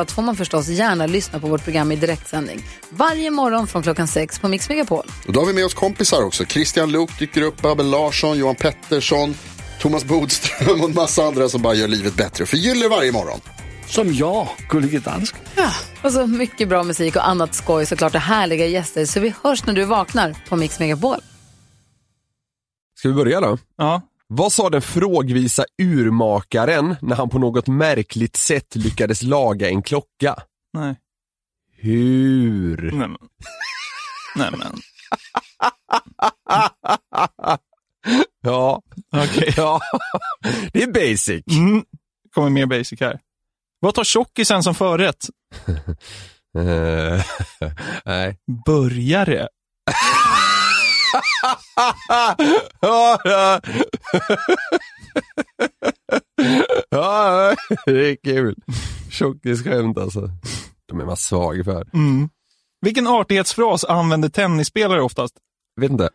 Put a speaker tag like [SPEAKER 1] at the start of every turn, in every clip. [SPEAKER 1] allt får man förstås gärna lyssna på vårt program i direktsändning. Varje morgon från klockan sex på Mix Megapol.
[SPEAKER 2] Och då har vi med oss kompisar också. Christian Luuk dyker upp, Abel Larsson, Johan Pettersson, Thomas Bodström och en massa andra som bara gör livet bättre för gillar varje morgon.
[SPEAKER 3] Som jag, Gullige Dansken.
[SPEAKER 1] Och så mycket bra musik och annat skoj såklart och härliga gäster. Så vi hörs när du vaknar på Mix Megapol.
[SPEAKER 4] Ska vi börja då?
[SPEAKER 5] Ja.
[SPEAKER 4] Vad sa den frågvisa urmakaren när han på något märkligt sätt lyckades laga en klocka?
[SPEAKER 5] Nej.
[SPEAKER 4] Hur?
[SPEAKER 5] Nej men. Nej men.
[SPEAKER 4] Ja,
[SPEAKER 5] Okej.
[SPEAKER 4] ja. Det är basic.
[SPEAKER 5] Mm. Kommer mer basic här. Vad tar tjockisen som förrätt?
[SPEAKER 4] Eh, Nej.
[SPEAKER 5] Burgare.
[SPEAKER 4] Ah! Ja, ja. Ja, det är kul. Tjockisskämt alltså. De är man svag för.
[SPEAKER 5] Mm. Vilken artighetsfras använder tennisspelare oftast?
[SPEAKER 4] Vet inte.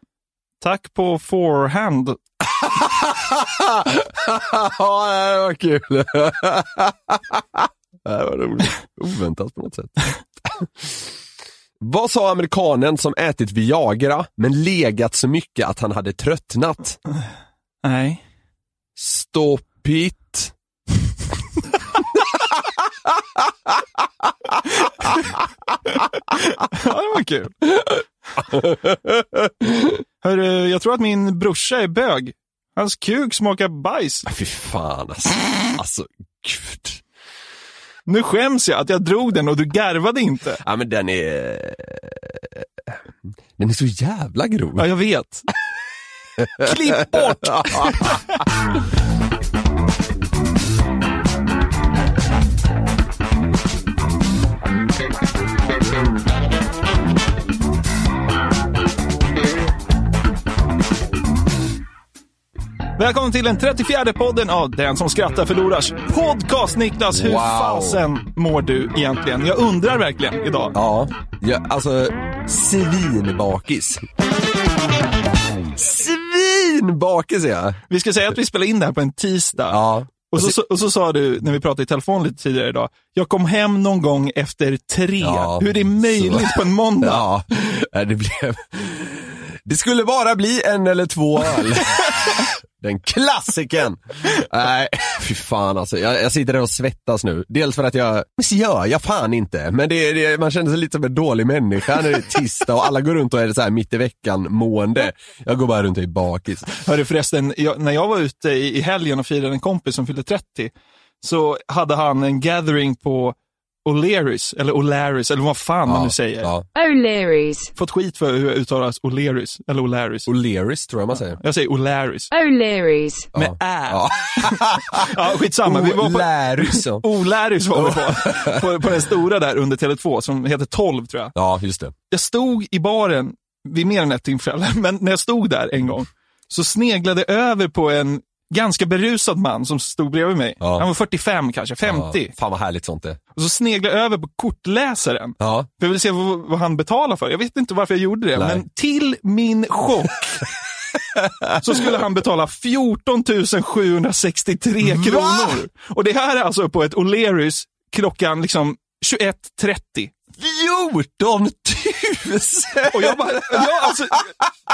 [SPEAKER 5] Tack på forehand.
[SPEAKER 4] ja, det här var kul. det här var roligt. Oväntat på något sätt. Vad sa amerikanen som ätit Viagra men legat så mycket att han hade tröttnat?
[SPEAKER 5] Nej.
[SPEAKER 4] Stop it.
[SPEAKER 5] Ja, det var kul. Hörru, jag tror att min brorsa är bög. Hans kuk smakar bajs.
[SPEAKER 4] Fy fan alltså. Alltså, gud.
[SPEAKER 5] Nu skäms jag att jag drog den och du garvade inte.
[SPEAKER 4] Ja men den är... Den är så jävla grov.
[SPEAKER 5] Ja, jag vet. Klipp bort! Välkommen till den 34 podden av Den som skrattar förlorars podcast. Niklas, hur
[SPEAKER 4] Wow.
[SPEAKER 5] fasen mår du egentligen? Jag undrar verkligen idag.
[SPEAKER 4] Ja, ja alltså svinbakis. Svinbakis är jag.
[SPEAKER 5] Vi ska säga att vi spelar in det här på en tisdag.
[SPEAKER 4] Ja.
[SPEAKER 5] Och så, så, och så sa du, när vi pratade i telefon lite tidigare idag, jag kom hem någon gång efter tre.
[SPEAKER 4] Ja,
[SPEAKER 5] Hur är det möjligt
[SPEAKER 4] så.
[SPEAKER 5] på en måndag?
[SPEAKER 4] Ja, nej, det blev... Det skulle bara bli en eller två öl. Den klassiken Nej, fy fan alltså. Jag, jag sitter där och svettas nu. Dels för att jag, men så gör jag fan inte. Men det, det, man känner sig lite som en dålig människa när det är tisdag och alla går runt och är så här mitt i veckan-mående. Jag går bara runt och är bakis.
[SPEAKER 5] Hörru förresten, jag, när jag var ute i, i helgen och firade en kompis som fyllde 30, så hade han en gathering på O'Learys, eller O'Larys, eller vad fan man nu säger.
[SPEAKER 4] Ja.
[SPEAKER 6] O'Leary's,
[SPEAKER 5] Fått skit för hur jag uttalar O'Learys, eller O'Larys.
[SPEAKER 4] O'Learys tror jag man säger.
[SPEAKER 5] Jag säger O'Larys.
[SPEAKER 6] O'Leary's,
[SPEAKER 5] Med
[SPEAKER 4] Ja.
[SPEAKER 5] ä.
[SPEAKER 4] Ja.
[SPEAKER 5] Ja, skitsamma. Vi var på,
[SPEAKER 4] O'Larys. ja.
[SPEAKER 5] O'Larys var vi på, på, på den stora där under Tele2 som heter 12 tror jag.
[SPEAKER 4] Ja, just det.
[SPEAKER 5] jag stod i baren vid mer än ett tillfälle, men när jag stod där en gång så sneglade jag över på en ganska berusad man som stod bredvid mig.
[SPEAKER 4] Ja.
[SPEAKER 5] Han var 45 kanske, 50.
[SPEAKER 4] Ja, fan vad härligt sånt det
[SPEAKER 5] Och så sneglade jag över på kortläsaren.
[SPEAKER 4] Ja.
[SPEAKER 5] För jag ville se vad, vad han betalar för. Jag vet inte varför jag gjorde det,
[SPEAKER 4] Nej.
[SPEAKER 5] men till min chock så skulle han betala 14 763 kronor. Och det här är alltså på ett O'Learys klockan liksom 21.30.
[SPEAKER 4] 14 000!
[SPEAKER 5] Och jag bara, ja, alltså,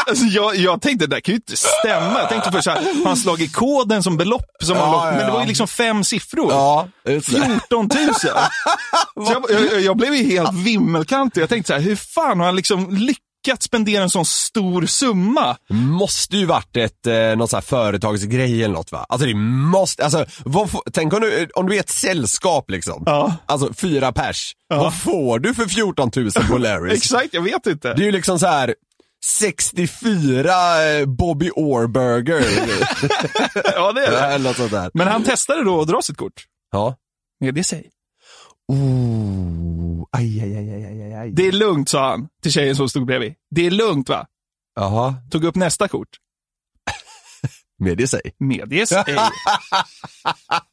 [SPEAKER 5] alltså jag, jag tänkte det där kan ju inte stämma. Jag tänkte först så här, har han slagit koden som belopp? Som
[SPEAKER 4] Ja,
[SPEAKER 5] han lagt,
[SPEAKER 4] ja,
[SPEAKER 5] Men det var
[SPEAKER 4] ja.
[SPEAKER 5] ju liksom fem siffror.
[SPEAKER 4] Ja, just det.
[SPEAKER 5] 14 000. Så jag, jag, jag blev ju helt vimmelkantig. Jag tänkte så här, hur fan har han liksom lyckats spendera en sån stor summa?
[SPEAKER 4] Måste ju varit ett, eh, någon sån här företagsgrej eller något va? Alltså det måste, alltså vad får, tänk om du, eh, om du är ett sällskap liksom.
[SPEAKER 5] Ja.
[SPEAKER 4] Alltså fyra pers. Vad får du för 14 000 på Larrys?
[SPEAKER 5] Exakt, jag vet inte.
[SPEAKER 4] det är ju liksom så här 64 eh, Bobby Orr-burger.
[SPEAKER 5] Ja, det är det.
[SPEAKER 4] eller något sånt där.
[SPEAKER 5] Men han testade då att dra sitt kort.
[SPEAKER 4] Ja.
[SPEAKER 5] Med det sig.
[SPEAKER 4] Oh, aj, aj, aj, aj, aj, aj.
[SPEAKER 5] Det är lugnt, sa han till tjejen som stod bredvid. Det är lugnt va?
[SPEAKER 4] Jaha,
[SPEAKER 5] Tog upp nästa kort.
[SPEAKER 4] medge sig.
[SPEAKER 5] Medges ej.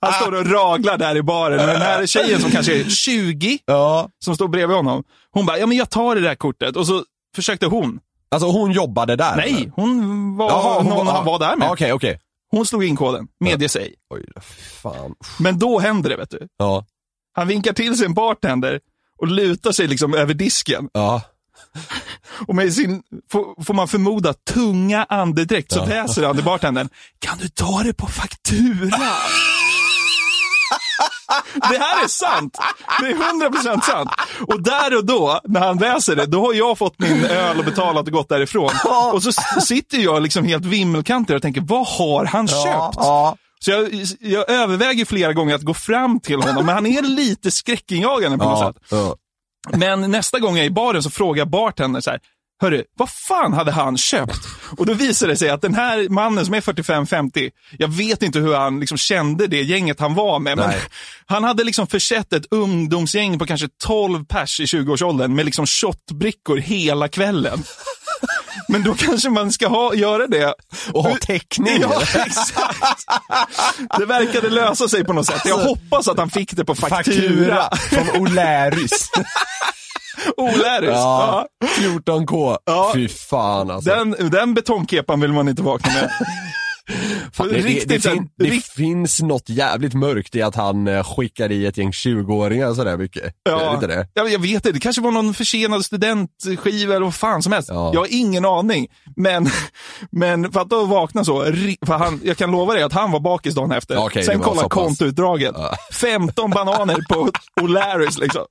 [SPEAKER 5] Han står och raglar där i baren. Och den här tjejen som kanske är 20,
[SPEAKER 4] Ja.
[SPEAKER 5] som står bredvid honom. Hon bara, ja men jag tar det där kortet. Och så försökte hon.
[SPEAKER 4] Alltså hon jobbade där?
[SPEAKER 5] Nej, hon var någon han var där med.
[SPEAKER 4] Ja, Okej, okej.
[SPEAKER 5] Hon slog in koden. Medges ej.
[SPEAKER 4] Oj, fan.
[SPEAKER 5] Men då händer det, vet du.
[SPEAKER 4] Ja,
[SPEAKER 5] Han vinkar till sin bartender och lutar sig liksom över disken.
[SPEAKER 4] ja.
[SPEAKER 5] Och med sin, får, får man förmoda, tunga andedräkt så
[SPEAKER 4] Ja.
[SPEAKER 5] väser han till bartendern. Kan du ta det på fakturan? Det här är sant! Det är 100% sant. Och där och då, när han väser det, då har jag fått min öl och betalat och gått därifrån. Och så s- sitter jag liksom helt vimmelkantig och tänker, vad har han köpt?
[SPEAKER 4] Ja.
[SPEAKER 5] Så jag, jag överväger flera gånger att gå fram till honom, men han är lite skräckinjagande på något
[SPEAKER 4] Ja.
[SPEAKER 5] sätt.
[SPEAKER 4] ja.
[SPEAKER 5] Men nästa gång jag är i baren så frågar bartendern så här, Hörru, vad fan hade han köpt? Och då visar det sig att den här mannen som är 45-50, jag vet inte hur han liksom kände det gänget han var med, men
[SPEAKER 4] Nej.
[SPEAKER 5] han hade liksom försett ett ungdomsgäng på kanske 12 pers i 20-årsåldern med liksom shotbrickor hela kvällen. Men då kanske man ska ha, göra det.
[SPEAKER 4] Och ha täckning.
[SPEAKER 5] Ja, exakt. Det verkade lösa sig på något sätt. Jag hoppas att han fick det på faktura.
[SPEAKER 4] Alltså- från O'Larys.
[SPEAKER 5] Oläris.
[SPEAKER 4] ja.
[SPEAKER 5] Ja.
[SPEAKER 4] 14K.
[SPEAKER 5] Ja.
[SPEAKER 4] Fy fan alltså.
[SPEAKER 5] Den, den betongkepan vill man inte vakna med.
[SPEAKER 4] Fan, det, det, det,
[SPEAKER 5] riktigt en-
[SPEAKER 4] fin, det
[SPEAKER 5] rikt-
[SPEAKER 4] finns något jävligt mörkt i att han eh, skickar i ett gäng 20-åringar sådär mycket. Är det inte det?
[SPEAKER 5] Ja, jag vet inte, det kanske var någon försenad studentskiva eller vad fan som helst.
[SPEAKER 4] Ja.
[SPEAKER 5] Jag har ingen aning. Men, men för att då vakna så, ri- för han, jag kan lova dig att han var bakis dagen efter.
[SPEAKER 4] Ja, okej, det
[SPEAKER 5] Sen
[SPEAKER 4] var
[SPEAKER 5] kolla
[SPEAKER 4] så pass.
[SPEAKER 5] kontoutdraget. 15 bananer på O'Larrys liksom.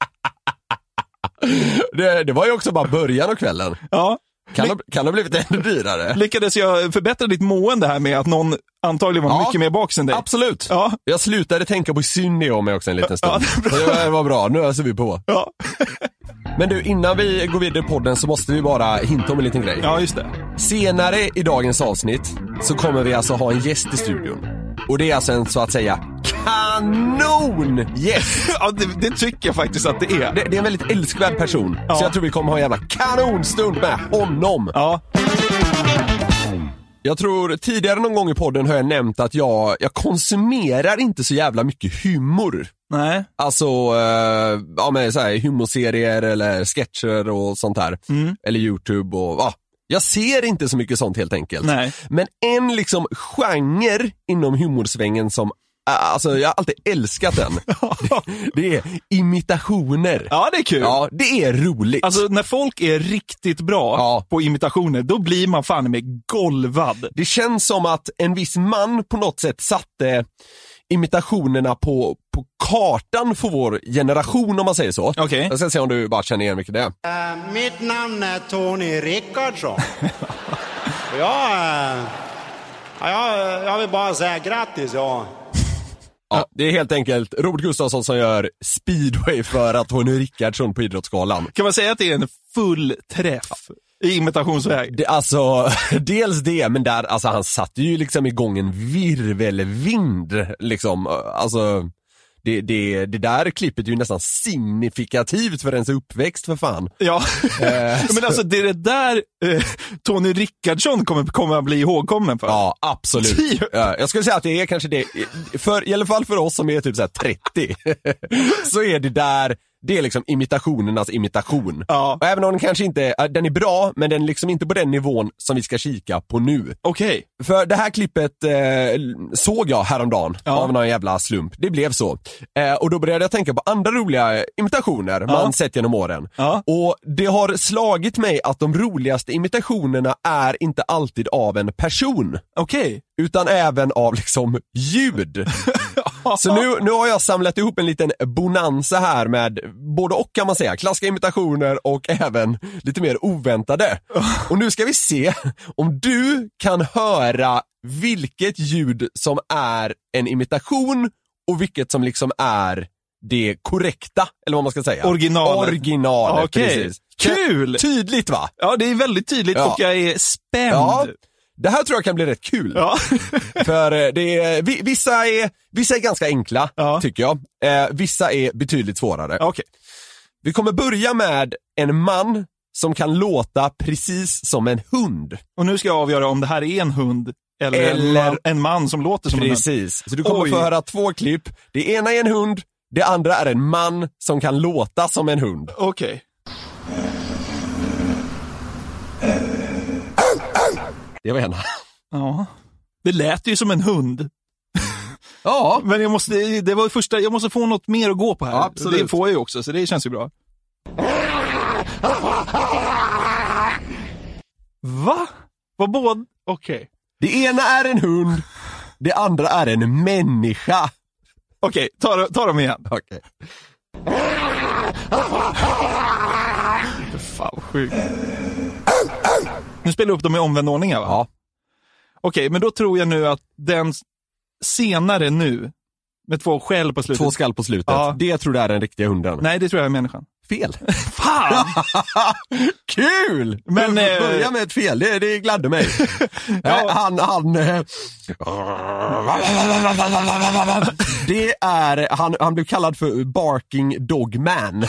[SPEAKER 4] det? Det var ju också bara början av kvällen.
[SPEAKER 5] Ja.
[SPEAKER 4] Kan, ha, kan ha blivit ännu dyrare.
[SPEAKER 5] Lyckades jag förbättra ditt mående här med att någon antagligen
[SPEAKER 4] Ja.
[SPEAKER 5] var mycket mer bakis än dig?
[SPEAKER 4] Absolut.
[SPEAKER 5] Ja.
[SPEAKER 4] Jag slutade tänka på Synne om mig också en liten
[SPEAKER 5] Ja,
[SPEAKER 4] stund.
[SPEAKER 5] det är bra.
[SPEAKER 4] Så det var bra, nu öser vi på.
[SPEAKER 5] Ja.
[SPEAKER 4] Men du, innan vi går vidare i podden så måste vi bara hinta om en liten grej.
[SPEAKER 5] ja, just det.
[SPEAKER 4] Senare i dagens avsnitt så kommer vi alltså ha en gäst i studion. Och det är alltså en så att säga kanongäst!
[SPEAKER 5] Ja, det, det tycker jag faktiskt att det är.
[SPEAKER 4] Det, det är en väldigt älskvärd person.
[SPEAKER 5] Ja.
[SPEAKER 4] Så jag tror vi kommer ha en jävla kanonstund med honom.
[SPEAKER 5] Ja,
[SPEAKER 4] Jag tror tidigare någon gång i podden har jag nämnt att jag, jag konsumerar inte så jävla mycket humor.
[SPEAKER 5] nej.
[SPEAKER 4] Alltså, eh, ja men så här, humorserier eller sketcher och sånt där.
[SPEAKER 5] Mm.
[SPEAKER 4] Eller YouTube och, ja. Jag ser inte så mycket sånt helt enkelt.
[SPEAKER 5] Nej.
[SPEAKER 4] Men en liksom genre inom humorsvängen som, eh, alltså jag har alltid älskat den. det är imitationer.
[SPEAKER 5] Ja, det är kul.
[SPEAKER 4] Ja, det är roligt.
[SPEAKER 5] Alltså när folk är riktigt bra
[SPEAKER 4] Ja.
[SPEAKER 5] på imitationer, då blir man fan med golvad.
[SPEAKER 4] Det känns som att en viss man på något sätt satte imitationerna på, på kartan för vår generation om man säger så.
[SPEAKER 5] Okej.
[SPEAKER 4] Jag ska se om du bara känner igen vilket det är.
[SPEAKER 7] Mitt namn är Tony Rickardsson. Och jag, eh, ja, jag, jag vill bara säga grattis. Ja.
[SPEAKER 4] Ja, det är helt enkelt Robert Gustafsson som gör speedway för att Tony Rickardsson på Idrottsgalan.
[SPEAKER 5] Kan man säga att det är en full träff i imitationsväg?
[SPEAKER 4] Det, alltså, dels det, men där, alltså han satte ju liksom igång en virvelvind liksom. Alltså, det, det, det där klippet är ju nästan signifikativt för ens uppväxt för fan.
[SPEAKER 5] Ja,
[SPEAKER 4] Eh,
[SPEAKER 5] men alltså det är det där eh, Tony Rickardsson kommer, kommer att bli ihågkommen för.
[SPEAKER 4] Ja, absolut.
[SPEAKER 5] Typ.
[SPEAKER 4] Ja, jag skulle säga att det är kanske det, för, i alla fall för oss som är typ så här 30, så är det där, det är liksom imitationernas imitation.
[SPEAKER 5] Ja.
[SPEAKER 4] Och även om den kanske inte, äh, den är bra, men den är liksom inte på den nivån som vi ska kika på nu.
[SPEAKER 5] Okej,
[SPEAKER 4] För det här klippet eh, såg jag häromdagen
[SPEAKER 5] Ja.
[SPEAKER 4] av någon jävla slump. Det blev så. Eh, och då började jag tänka på andra roliga imitationer man sett genom åren.
[SPEAKER 5] Ja.
[SPEAKER 4] Och det har slagit mig att de roligaste imitationerna är inte alltid av en person
[SPEAKER 5] okej.
[SPEAKER 4] utan även av liksom ljud. Så nu, nu har jag samlat ihop en liten bonanza här med både och kan man säga, klassiska imitationer och även lite mer oväntade. Och nu ska vi se om du kan höra vilket ljud som är en imitation och vilket som liksom är det korrekta, eller vad man ska säga.
[SPEAKER 5] Originalet.
[SPEAKER 4] Originalet,
[SPEAKER 5] Okej.
[SPEAKER 4] precis.
[SPEAKER 5] Kul!
[SPEAKER 4] Tydligt va?
[SPEAKER 5] Ja, det är väldigt tydligt
[SPEAKER 4] Ja.
[SPEAKER 5] och jag är spänd.
[SPEAKER 4] Ja. Det här tror jag kan bli rätt kul.
[SPEAKER 5] Ja.
[SPEAKER 4] För eh, det är, vi- vissa, är, vissa är ganska enkla,
[SPEAKER 5] Ja.
[SPEAKER 4] tycker jag. Eh, vissa är betydligt svårare.
[SPEAKER 5] Ja, Okej.
[SPEAKER 4] Vi kommer börja med en man som kan låta precis som en hund.
[SPEAKER 5] Och nu ska jag avgöra om det här är en hund eller, En,
[SPEAKER 4] Eller-
[SPEAKER 5] man, en man som låter som en hund.
[SPEAKER 4] Precis. Så du kommer
[SPEAKER 5] Oj.
[SPEAKER 4] få höra två klipp. Det ena är en hund, det andra är en man som kan låta som en hund.
[SPEAKER 5] Okej.
[SPEAKER 4] Det var ena.
[SPEAKER 5] Ja. Det lät ju som en hund.
[SPEAKER 4] Ja.
[SPEAKER 5] Men jag måste, det var ju första, jag måste få något mer att gå på här.
[SPEAKER 4] Ja, absolut.
[SPEAKER 5] Det får jag ju också, så det känns ju bra. Va? Var båda... Okej.
[SPEAKER 4] Det ena är en hund, det andra är en människa.
[SPEAKER 5] Okej, ta, ta dem igen.
[SPEAKER 4] Okej.
[SPEAKER 5] Fan vad sjukt. Nu spelar jag upp dem i omvänd ordning här va?
[SPEAKER 4] Ja.
[SPEAKER 5] Okej, men då tror jag nu att den s- senare nu, med två skäll på slutet.
[SPEAKER 4] Två skall på slutet.
[SPEAKER 5] Ja.
[SPEAKER 4] Det tror du är den riktiga hunden.
[SPEAKER 5] Nej, det tror jag är människan.
[SPEAKER 4] Fel.
[SPEAKER 5] Fan!
[SPEAKER 4] Kul!
[SPEAKER 5] Men,
[SPEAKER 4] Men,
[SPEAKER 5] eh,
[SPEAKER 4] börja med ett fel, det, det gladde mig. Nej, Han, han... eh, Det är, han, han blev kallad för Barking Dogman.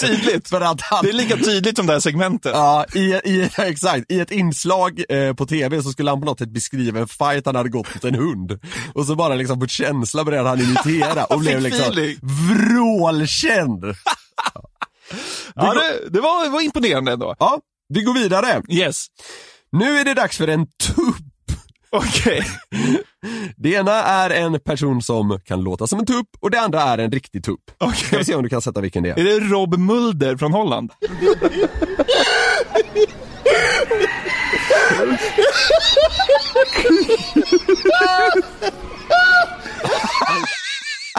[SPEAKER 5] Tydligt.
[SPEAKER 4] för att han...
[SPEAKER 5] Det är lika tydligt som det här segmentet.
[SPEAKER 4] Ja, i, i, exakt. I ett inslag eh, på tv så skulle han på något sätt beskriva en fight han hade gått mot en hund. Och så bara liksom på känsla började han imitera och blev
[SPEAKER 5] Fick
[SPEAKER 4] liksom
[SPEAKER 5] feeling.
[SPEAKER 4] vrålkänd.
[SPEAKER 5] Ja, det, det, var, det var imponerande ändå.
[SPEAKER 4] Ja, vi går vidare.
[SPEAKER 5] Yes.
[SPEAKER 4] Nu är det dags för en tupp.
[SPEAKER 5] Okej.
[SPEAKER 4] Det ena är en person som kan låta som en tupp och det andra är en riktig tupp.
[SPEAKER 5] Okej.
[SPEAKER 4] Ska vi se om du kan sätta vilken det
[SPEAKER 5] Är
[SPEAKER 4] är.
[SPEAKER 5] det Rob Mulder från Holland?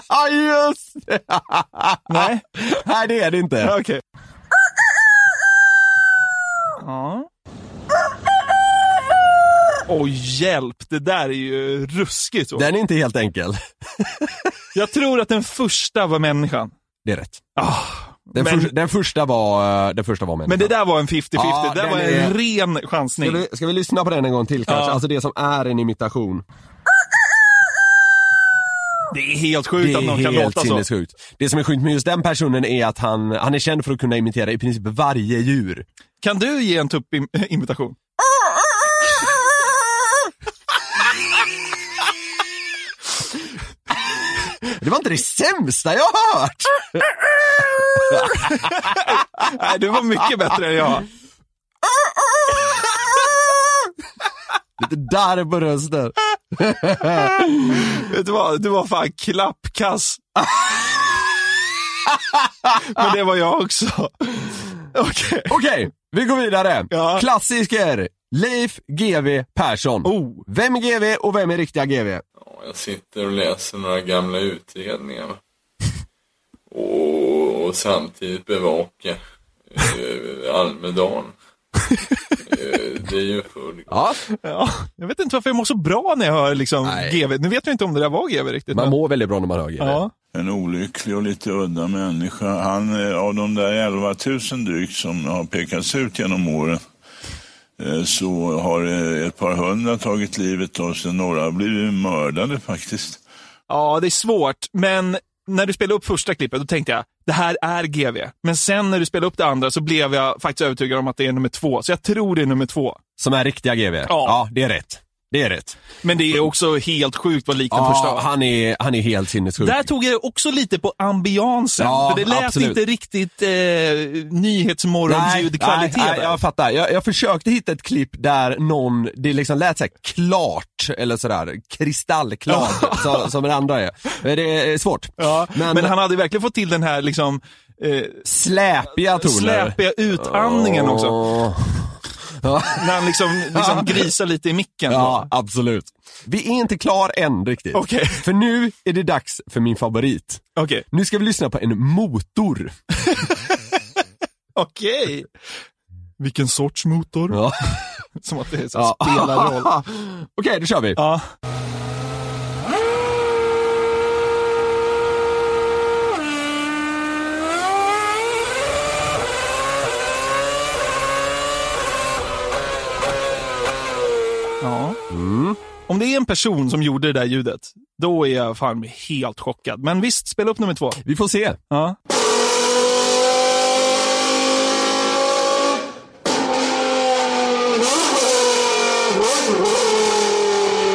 [SPEAKER 4] Ja, just det!
[SPEAKER 5] Nej.
[SPEAKER 4] Ah, Nej, det är det inte.
[SPEAKER 5] Okej. Ja. Oj, hjälp. Det där är ju ruskigt.
[SPEAKER 4] Den är inte helt enkel.
[SPEAKER 5] Jag tror att den första var människan.
[SPEAKER 4] Det är rätt.
[SPEAKER 5] Ah,
[SPEAKER 4] Den,
[SPEAKER 5] men,
[SPEAKER 4] för, den första var, eh, den första var människan.
[SPEAKER 5] men det där var en 50-50.
[SPEAKER 4] Ja,
[SPEAKER 5] det där
[SPEAKER 4] den
[SPEAKER 5] var en
[SPEAKER 4] är-
[SPEAKER 5] ren chansning.
[SPEAKER 4] Ska vi, ska vi lyssna på den en gång till kanske?
[SPEAKER 5] Ja.
[SPEAKER 4] Alltså det som är en imitation.
[SPEAKER 5] Det är helt
[SPEAKER 4] Det
[SPEAKER 5] sjukt att
[SPEAKER 4] är
[SPEAKER 5] någon kan
[SPEAKER 4] helt
[SPEAKER 5] låta så.
[SPEAKER 4] sinnessjukt. Det som är sjukt med just den personen är att han, han är känd för att kunna imitera i princip varje djur.
[SPEAKER 5] Kan du ge en tuppimitation?
[SPEAKER 4] Det var inte det sämsta jag har hört!
[SPEAKER 5] Nej, det var mycket bättre än jag.
[SPEAKER 4] Lite darr på rösten.
[SPEAKER 5] Vet du vad? Du var fan klappkass. Men det var jag också. Okej.
[SPEAKER 4] Okej, vi går vidare.
[SPEAKER 5] Ja.
[SPEAKER 4] Klassiker. Leif GW Persson.
[SPEAKER 5] Oh.
[SPEAKER 4] Vem är GW och vem är riktiga GW?
[SPEAKER 8] Jag sitter och läser några gamla utredningar. Och, och samtidigt bevakar eh, Almedalen. Eh, det är ju full
[SPEAKER 4] Ja,
[SPEAKER 5] Ja, jag vet inte varför jag mår så bra när jag hör liksom
[SPEAKER 4] Nej.
[SPEAKER 5] GV. Nu vet jag inte om det där var GV riktigt.
[SPEAKER 4] man
[SPEAKER 5] men-
[SPEAKER 4] mår väldigt bra när man hör GW.
[SPEAKER 5] ja.
[SPEAKER 9] En olycklig och lite udda människa. Han, eh, av de där 11 000 drygt som har pekats ut genom åren eh, så har eh, ett par hundra tagit livet av sig. Några har blivit mördade faktiskt.
[SPEAKER 5] ja, det är svårt. Men när du spelade upp första klippet, då tänkte jag det här är GV. Men sen när du spelade upp det andra så blev jag faktiskt övertygad om att det är nummer två. Så jag tror det är nummer två.
[SPEAKER 4] Som är riktiga GW. Ja. det är rätt. Det är rätt.
[SPEAKER 5] Men det är också helt sjukt vad lik den första
[SPEAKER 4] Mm. Ja,
[SPEAKER 5] var.
[SPEAKER 4] han är, han är helt sinnessjuk.
[SPEAKER 5] Där tog jag också lite på ambiansen.
[SPEAKER 4] Ja,
[SPEAKER 5] för det lät
[SPEAKER 4] absolut.
[SPEAKER 5] inte riktigt eh,
[SPEAKER 4] nej,
[SPEAKER 5] nyhetsmorgonljudkvalitet.
[SPEAKER 4] nej,
[SPEAKER 5] där.
[SPEAKER 4] jag fattar. Jag, jag försökte hitta ett klipp där någon, det liksom lät såhär klart, eller sådär kristallklart, som, som den andra är. Men Det är svårt.
[SPEAKER 5] Ja, men,
[SPEAKER 4] men,
[SPEAKER 5] han hade verkligen fått till den här liksom, eh,
[SPEAKER 4] släpiga toner.
[SPEAKER 5] släpiga utandningen också.
[SPEAKER 4] Ja.
[SPEAKER 5] När han liksom, liksom grisar lite i micken.
[SPEAKER 4] Ja,
[SPEAKER 5] då.
[SPEAKER 4] absolut. Vi är inte klar än riktigt.
[SPEAKER 5] Okej.
[SPEAKER 4] För nu är det dags för min favorit.
[SPEAKER 5] Okej.
[SPEAKER 4] Nu ska vi lyssna på en motor.
[SPEAKER 5] Okej. Vilken sorts motor?
[SPEAKER 4] Ja.
[SPEAKER 5] Som att det så
[SPEAKER 4] Ja.
[SPEAKER 5] spelar roll.
[SPEAKER 4] Okej, då kör vi.
[SPEAKER 5] Ja. Ja.
[SPEAKER 4] Mm.
[SPEAKER 5] Om det är en person som gjorde det där ljudet, då är jag fan helt chockad. Men visst, spela upp nummer två.
[SPEAKER 4] Vi får se.
[SPEAKER 5] Ja.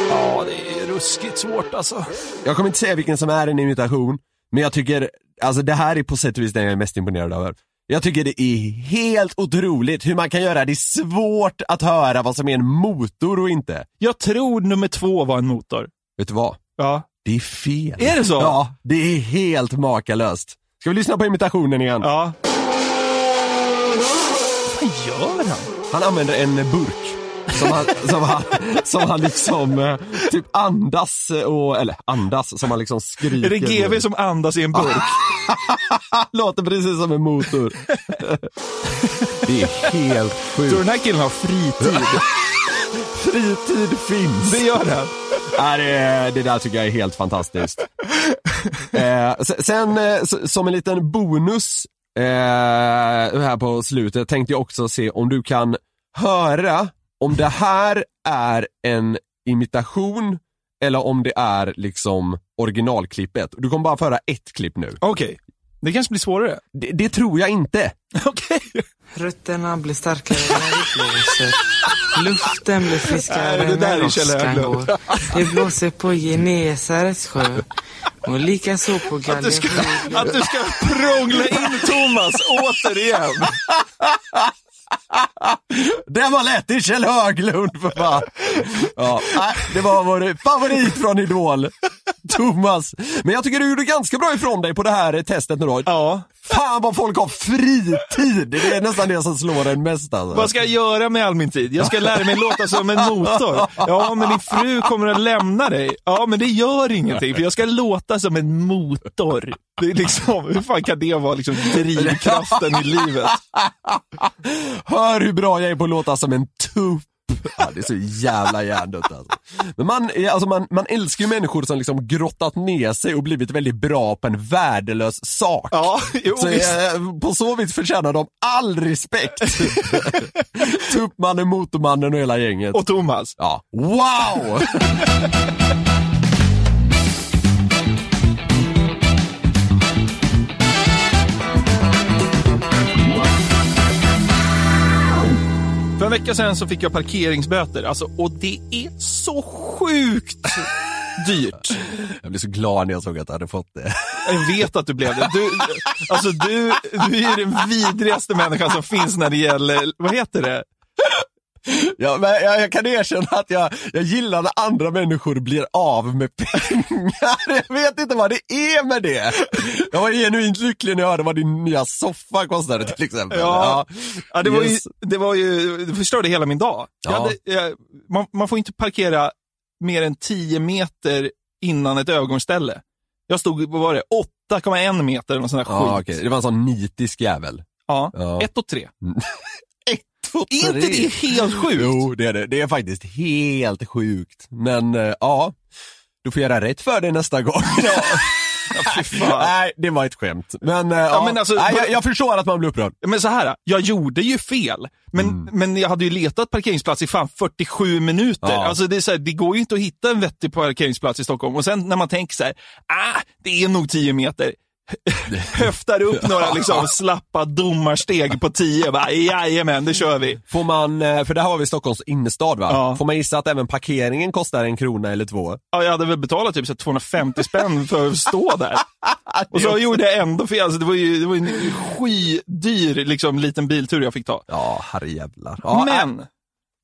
[SPEAKER 5] Ja, det är ruskigt svårt alltså.
[SPEAKER 4] Jag kommer inte säga vilken som är en imitation, men jag tycker, alltså det här är på sätt och vis den jag är mest imponerad över. Jag tycker det är helt otroligt hur man kan göra det svårt att höra vad som är en motor och inte.
[SPEAKER 5] Jag tror nummer två var en motor.
[SPEAKER 4] Vet du vad?
[SPEAKER 5] Ja.
[SPEAKER 4] Det är fel.
[SPEAKER 5] Är det så?
[SPEAKER 4] Ja, det är helt makalöst. Ska vi lyssna på imitationen igen?
[SPEAKER 5] Ja. Vad gör han?
[SPEAKER 4] Han använder en burk. Som han, som han, som han liksom eh, typ andas och, eller andas, som han liksom skriker.
[SPEAKER 5] Är det GV som andas i en burk?
[SPEAKER 4] Låter precis som en motor. det är helt
[SPEAKER 5] Tror du
[SPEAKER 4] sjukt.
[SPEAKER 5] den här killen har fritid?
[SPEAKER 4] Fritid finns.
[SPEAKER 5] Det gör han.
[SPEAKER 4] Nej, det, det där tycker jag är helt fantastiskt. Eh, se- sen eh, s- som en liten bonus eh, här på slutet tänkte jag också se om du kan höra om det här är en imitation eller om det är liksom originalklippet. Du kommer bara föra ett klipp nu.
[SPEAKER 5] Okej. Det kanske blir svårare.
[SPEAKER 4] Det, det tror jag inte.
[SPEAKER 5] Okej.
[SPEAKER 10] Rötterna blir starkare när det blåser. Luften blir
[SPEAKER 5] Nej, det
[SPEAKER 10] friskare
[SPEAKER 5] där är
[SPEAKER 10] när
[SPEAKER 5] Kjell
[SPEAKER 10] åskan
[SPEAKER 5] Höglund.
[SPEAKER 10] går. Det blåser på Genesarets sjö och likaså på
[SPEAKER 5] Du ska,
[SPEAKER 10] Galgenfrid.
[SPEAKER 5] att du ska prångla in Thomas återigen.
[SPEAKER 4] Den var lätt, det är Kjell Höglund för fan. Ja, nej, det var vår favorit från Idol, Thomas. Men jag tycker du gjorde ganska bra ifrån dig på det här testet nu då.
[SPEAKER 5] Ja.
[SPEAKER 4] Fan vad folk har fritid! Det är nästan det som slår en mest alltså.
[SPEAKER 5] Vad ska jag göra med all min tid? Jag ska lära mig låta som en motor. Ja, men din fru kommer att lämna dig. Ja, men det gör ingenting, för jag ska låta som en motor. Det är liksom, hur fan kan det vara liksom drivkraften i livet?
[SPEAKER 4] Hör hur bra jag är på att låta som en tupp. Ja, det är så jävla hjärndött alltså. Men man, alltså man, man älskar ju människor som liksom grottat ner sig och blivit väldigt bra på en värdelös sak.
[SPEAKER 5] Ja, jo,
[SPEAKER 4] Så
[SPEAKER 5] visst.
[SPEAKER 4] eh, på så vis förtjänar de all respekt. Tuppmannen, Motormannen och hela gänget.
[SPEAKER 5] Och Thomas.
[SPEAKER 4] Ja, wow!
[SPEAKER 5] För en vecka sedan så fick jag parkeringsböter, alltså, och det är så sjukt dyrt.
[SPEAKER 4] Jag blev så glad när jag såg att jag hade fått det.
[SPEAKER 5] Jag vet att du blev det. Du, alltså, du, du är ju den vidrigaste människan som finns när det gäller, vad heter det?
[SPEAKER 4] Ja, men jag, jag kan erkänna att jag, jag gillar när andra människor blir av med pengar. Jag vet inte vad det är med det. Jag var genuint lycklig när jag hörde vad din nya soffa kostade till exempel.
[SPEAKER 5] Ja, ja det, var ju,
[SPEAKER 4] Yes.
[SPEAKER 5] det var ju, det förstörde hela min dag. Jag
[SPEAKER 4] Ja.
[SPEAKER 5] hade, jag, man, man får inte parkera mer än 10 meter innan ett övergångsställe. Jag stod, vad var det, 8,1 meter eller någon sån där
[SPEAKER 4] Ja,
[SPEAKER 5] skit.
[SPEAKER 4] okej. Det var en sån nitisk jävel.
[SPEAKER 5] Ja,
[SPEAKER 4] Ja.
[SPEAKER 5] 1 och 3.
[SPEAKER 4] Två,
[SPEAKER 5] Är inte
[SPEAKER 4] tre.
[SPEAKER 5] det helt sjukt?
[SPEAKER 4] Jo, det är det. Det är faktiskt helt sjukt. Men eh, ja, du får göra rätt för dig nästa gång.
[SPEAKER 5] Fy fan.
[SPEAKER 4] Nej, det var ett skämt. Men, eh, ja,
[SPEAKER 5] men alltså,
[SPEAKER 4] nej,
[SPEAKER 5] bara-
[SPEAKER 4] jag, jag förstår att man blir upprörd.
[SPEAKER 5] Men så här, jag gjorde ju fel, men, men jag hade ju letat parkeringsplats i fan 47 minuter.
[SPEAKER 4] Ja.
[SPEAKER 5] Alltså det, är så här, det går ju inte att hitta en vettig parkeringsplats i Stockholm. Och sen när man tänker så här, ah, det är nog 10 meter. Höftar upp några liksom, slappa domarsteg på 10. Bara, Jajamän, det kör vi.
[SPEAKER 4] Får man, eh, för det här var vi Stockholms innerstad va?
[SPEAKER 5] Ja.
[SPEAKER 4] Får man gissa att även parkeringen kostar en krona eller två?
[SPEAKER 5] Ja, jag hade väl betalat typ så här 250 spänn för att stå där. Och så gjorde jag ändå fel. Alltså, det var ju det var ju en skydyr liksom, liten biltur jag fick ta.
[SPEAKER 4] Ja, herrejävlar. Ja, äh,
[SPEAKER 5] men,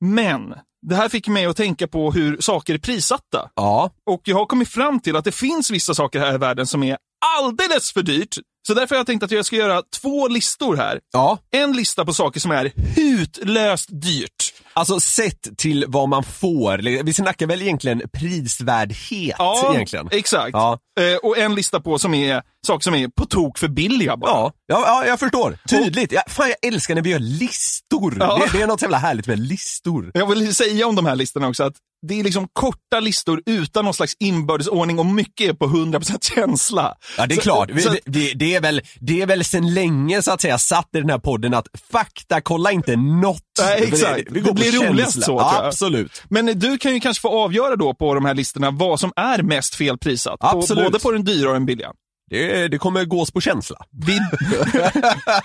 [SPEAKER 5] men, det här fick mig att tänka på hur saker är prissatta.
[SPEAKER 4] ja,
[SPEAKER 5] Och jag har kommit fram till att det finns vissa saker här i världen som är alldeles för dyrt. Så därför har jag tänkt att jag ska göra två listor här.
[SPEAKER 4] ja.
[SPEAKER 5] En lista på saker som är hutlöst dyrt.
[SPEAKER 4] Alltså sett till vad man får. Vi snackar väl egentligen prisvärdhet egentligen?
[SPEAKER 5] exakt.
[SPEAKER 4] Ja.
[SPEAKER 5] Eh, och en lista på som är saker som är på tok för billiga bara.
[SPEAKER 4] Ja, ja, ja jag förstår. Tydligt. Ja, fan, jag älskar när vi gör listor.
[SPEAKER 5] Ja.
[SPEAKER 4] Det, det är något så jävla härligt med listor.
[SPEAKER 5] Jag vill säga om de här listorna också att det är liksom korta listor utan någon slags inbördesordning och mycket är på 100% känsla.
[SPEAKER 4] Ja det är
[SPEAKER 5] Så-
[SPEAKER 4] klart, Vi-
[SPEAKER 5] så att-
[SPEAKER 4] det, det, det, är väl, det är väl sen länge så att säga satt i den här podden att fakta kolla inte något.
[SPEAKER 5] Nej, exakt.
[SPEAKER 4] Det,
[SPEAKER 5] Det,
[SPEAKER 4] vi går
[SPEAKER 5] blir
[SPEAKER 4] på
[SPEAKER 5] roligast
[SPEAKER 4] känsla.
[SPEAKER 5] så. tror
[SPEAKER 4] ja,
[SPEAKER 5] jag.
[SPEAKER 4] absolut.
[SPEAKER 5] Men du kan ju kanske få avgöra då på de här listorna vad som är mest felprisat. På-
[SPEAKER 4] Absolut.
[SPEAKER 5] Både på den dyra och den billiga.
[SPEAKER 4] Det, det kommer gås på känsla.
[SPEAKER 5] Vi,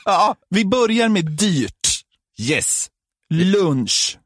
[SPEAKER 5] Ja, vi börjar med dyrt.
[SPEAKER 4] Yes.
[SPEAKER 5] Lunch.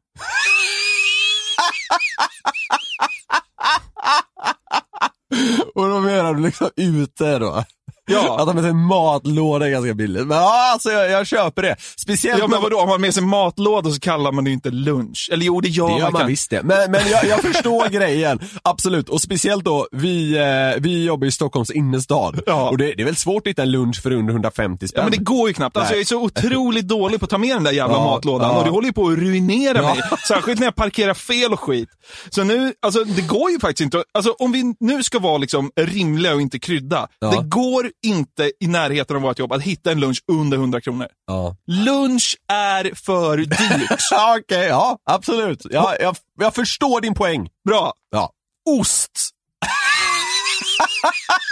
[SPEAKER 4] Och då menar du liksom ute då?
[SPEAKER 5] Ja.
[SPEAKER 4] Att de med sig matlåda är ganska billigt. Men ja, alltså jag, jag köper det. Speciellt
[SPEAKER 5] Ja, men
[SPEAKER 4] när-
[SPEAKER 5] vadå, om man har med sig matlåda så kallar man det ju inte lunch. Eller jo, det gör
[SPEAKER 4] Det gör man
[SPEAKER 5] kanske.
[SPEAKER 4] visst det. Men, men jag, jag förstår grejen, absolut. Och speciellt då, vi, eh, vi jobbar i Stockholms innerstad.
[SPEAKER 5] Ja.
[SPEAKER 4] Och det, det är väl svårt att hitta en lunch för under 150 spänn.
[SPEAKER 5] Ja, men det går ju knappt. Alltså,
[SPEAKER 4] Nej.
[SPEAKER 5] jag är så otroligt dålig på att ta med den där jävla
[SPEAKER 4] Ja,
[SPEAKER 5] matlådan
[SPEAKER 4] ja.
[SPEAKER 5] och det håller ju på att ruinera mig. Särskilt när jag parkerar fel och skit. Så nu, alltså det går ju faktiskt inte. att- Alltså om vi nu ska vara liksom rimliga och inte krydda.
[SPEAKER 4] Ja.
[SPEAKER 5] Det går inte i närheten av vårt jobb att hitta en lunch under 100 kronor.
[SPEAKER 4] Ja.
[SPEAKER 5] Lunch är för dyrt.
[SPEAKER 4] Ja, Okej, ja absolut. Ja, jag, jag förstår din poäng.
[SPEAKER 5] Bra.
[SPEAKER 4] Ja.
[SPEAKER 5] Ost.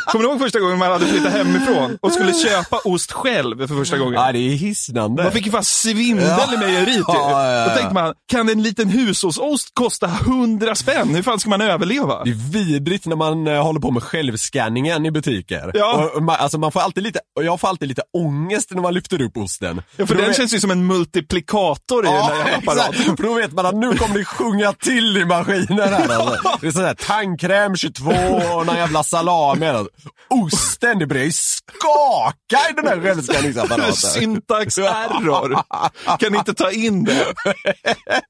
[SPEAKER 5] Kommer du ihåg första gången man hade flyttat hemifrån och skulle köpa ost själv för första gången?
[SPEAKER 4] Ja, det är hisnande.
[SPEAKER 5] Man fick ju fan svindel
[SPEAKER 4] Ja.
[SPEAKER 5] i mejeriet ju.
[SPEAKER 4] Ja, ja, ja.
[SPEAKER 5] Då tänkte man, kan en liten hushållsost kosta 100 spänn? Hur fan ska man överleva?
[SPEAKER 4] Det är vidrigt när man eh, håller på med självscanningen i butiker.
[SPEAKER 5] Ja.
[SPEAKER 4] Och, och man, alltså man får alltid lite, och jag får alltid lite ångest när man lyfter upp osten.
[SPEAKER 5] Ja, för
[SPEAKER 4] då
[SPEAKER 5] den
[SPEAKER 4] vet-
[SPEAKER 5] känns ju som en multiplikator i den där jävla apparaten.
[SPEAKER 4] exakt. För då vet man att nu kommer det sjunga till i maskinen här alltså. Det är sån här tandkräm 22 och någon jävla salami. här, Alltså. Osten, det börjar ju skaka i den här självskanningsapparaten.
[SPEAKER 5] Syntax error. Kan inte ta in det.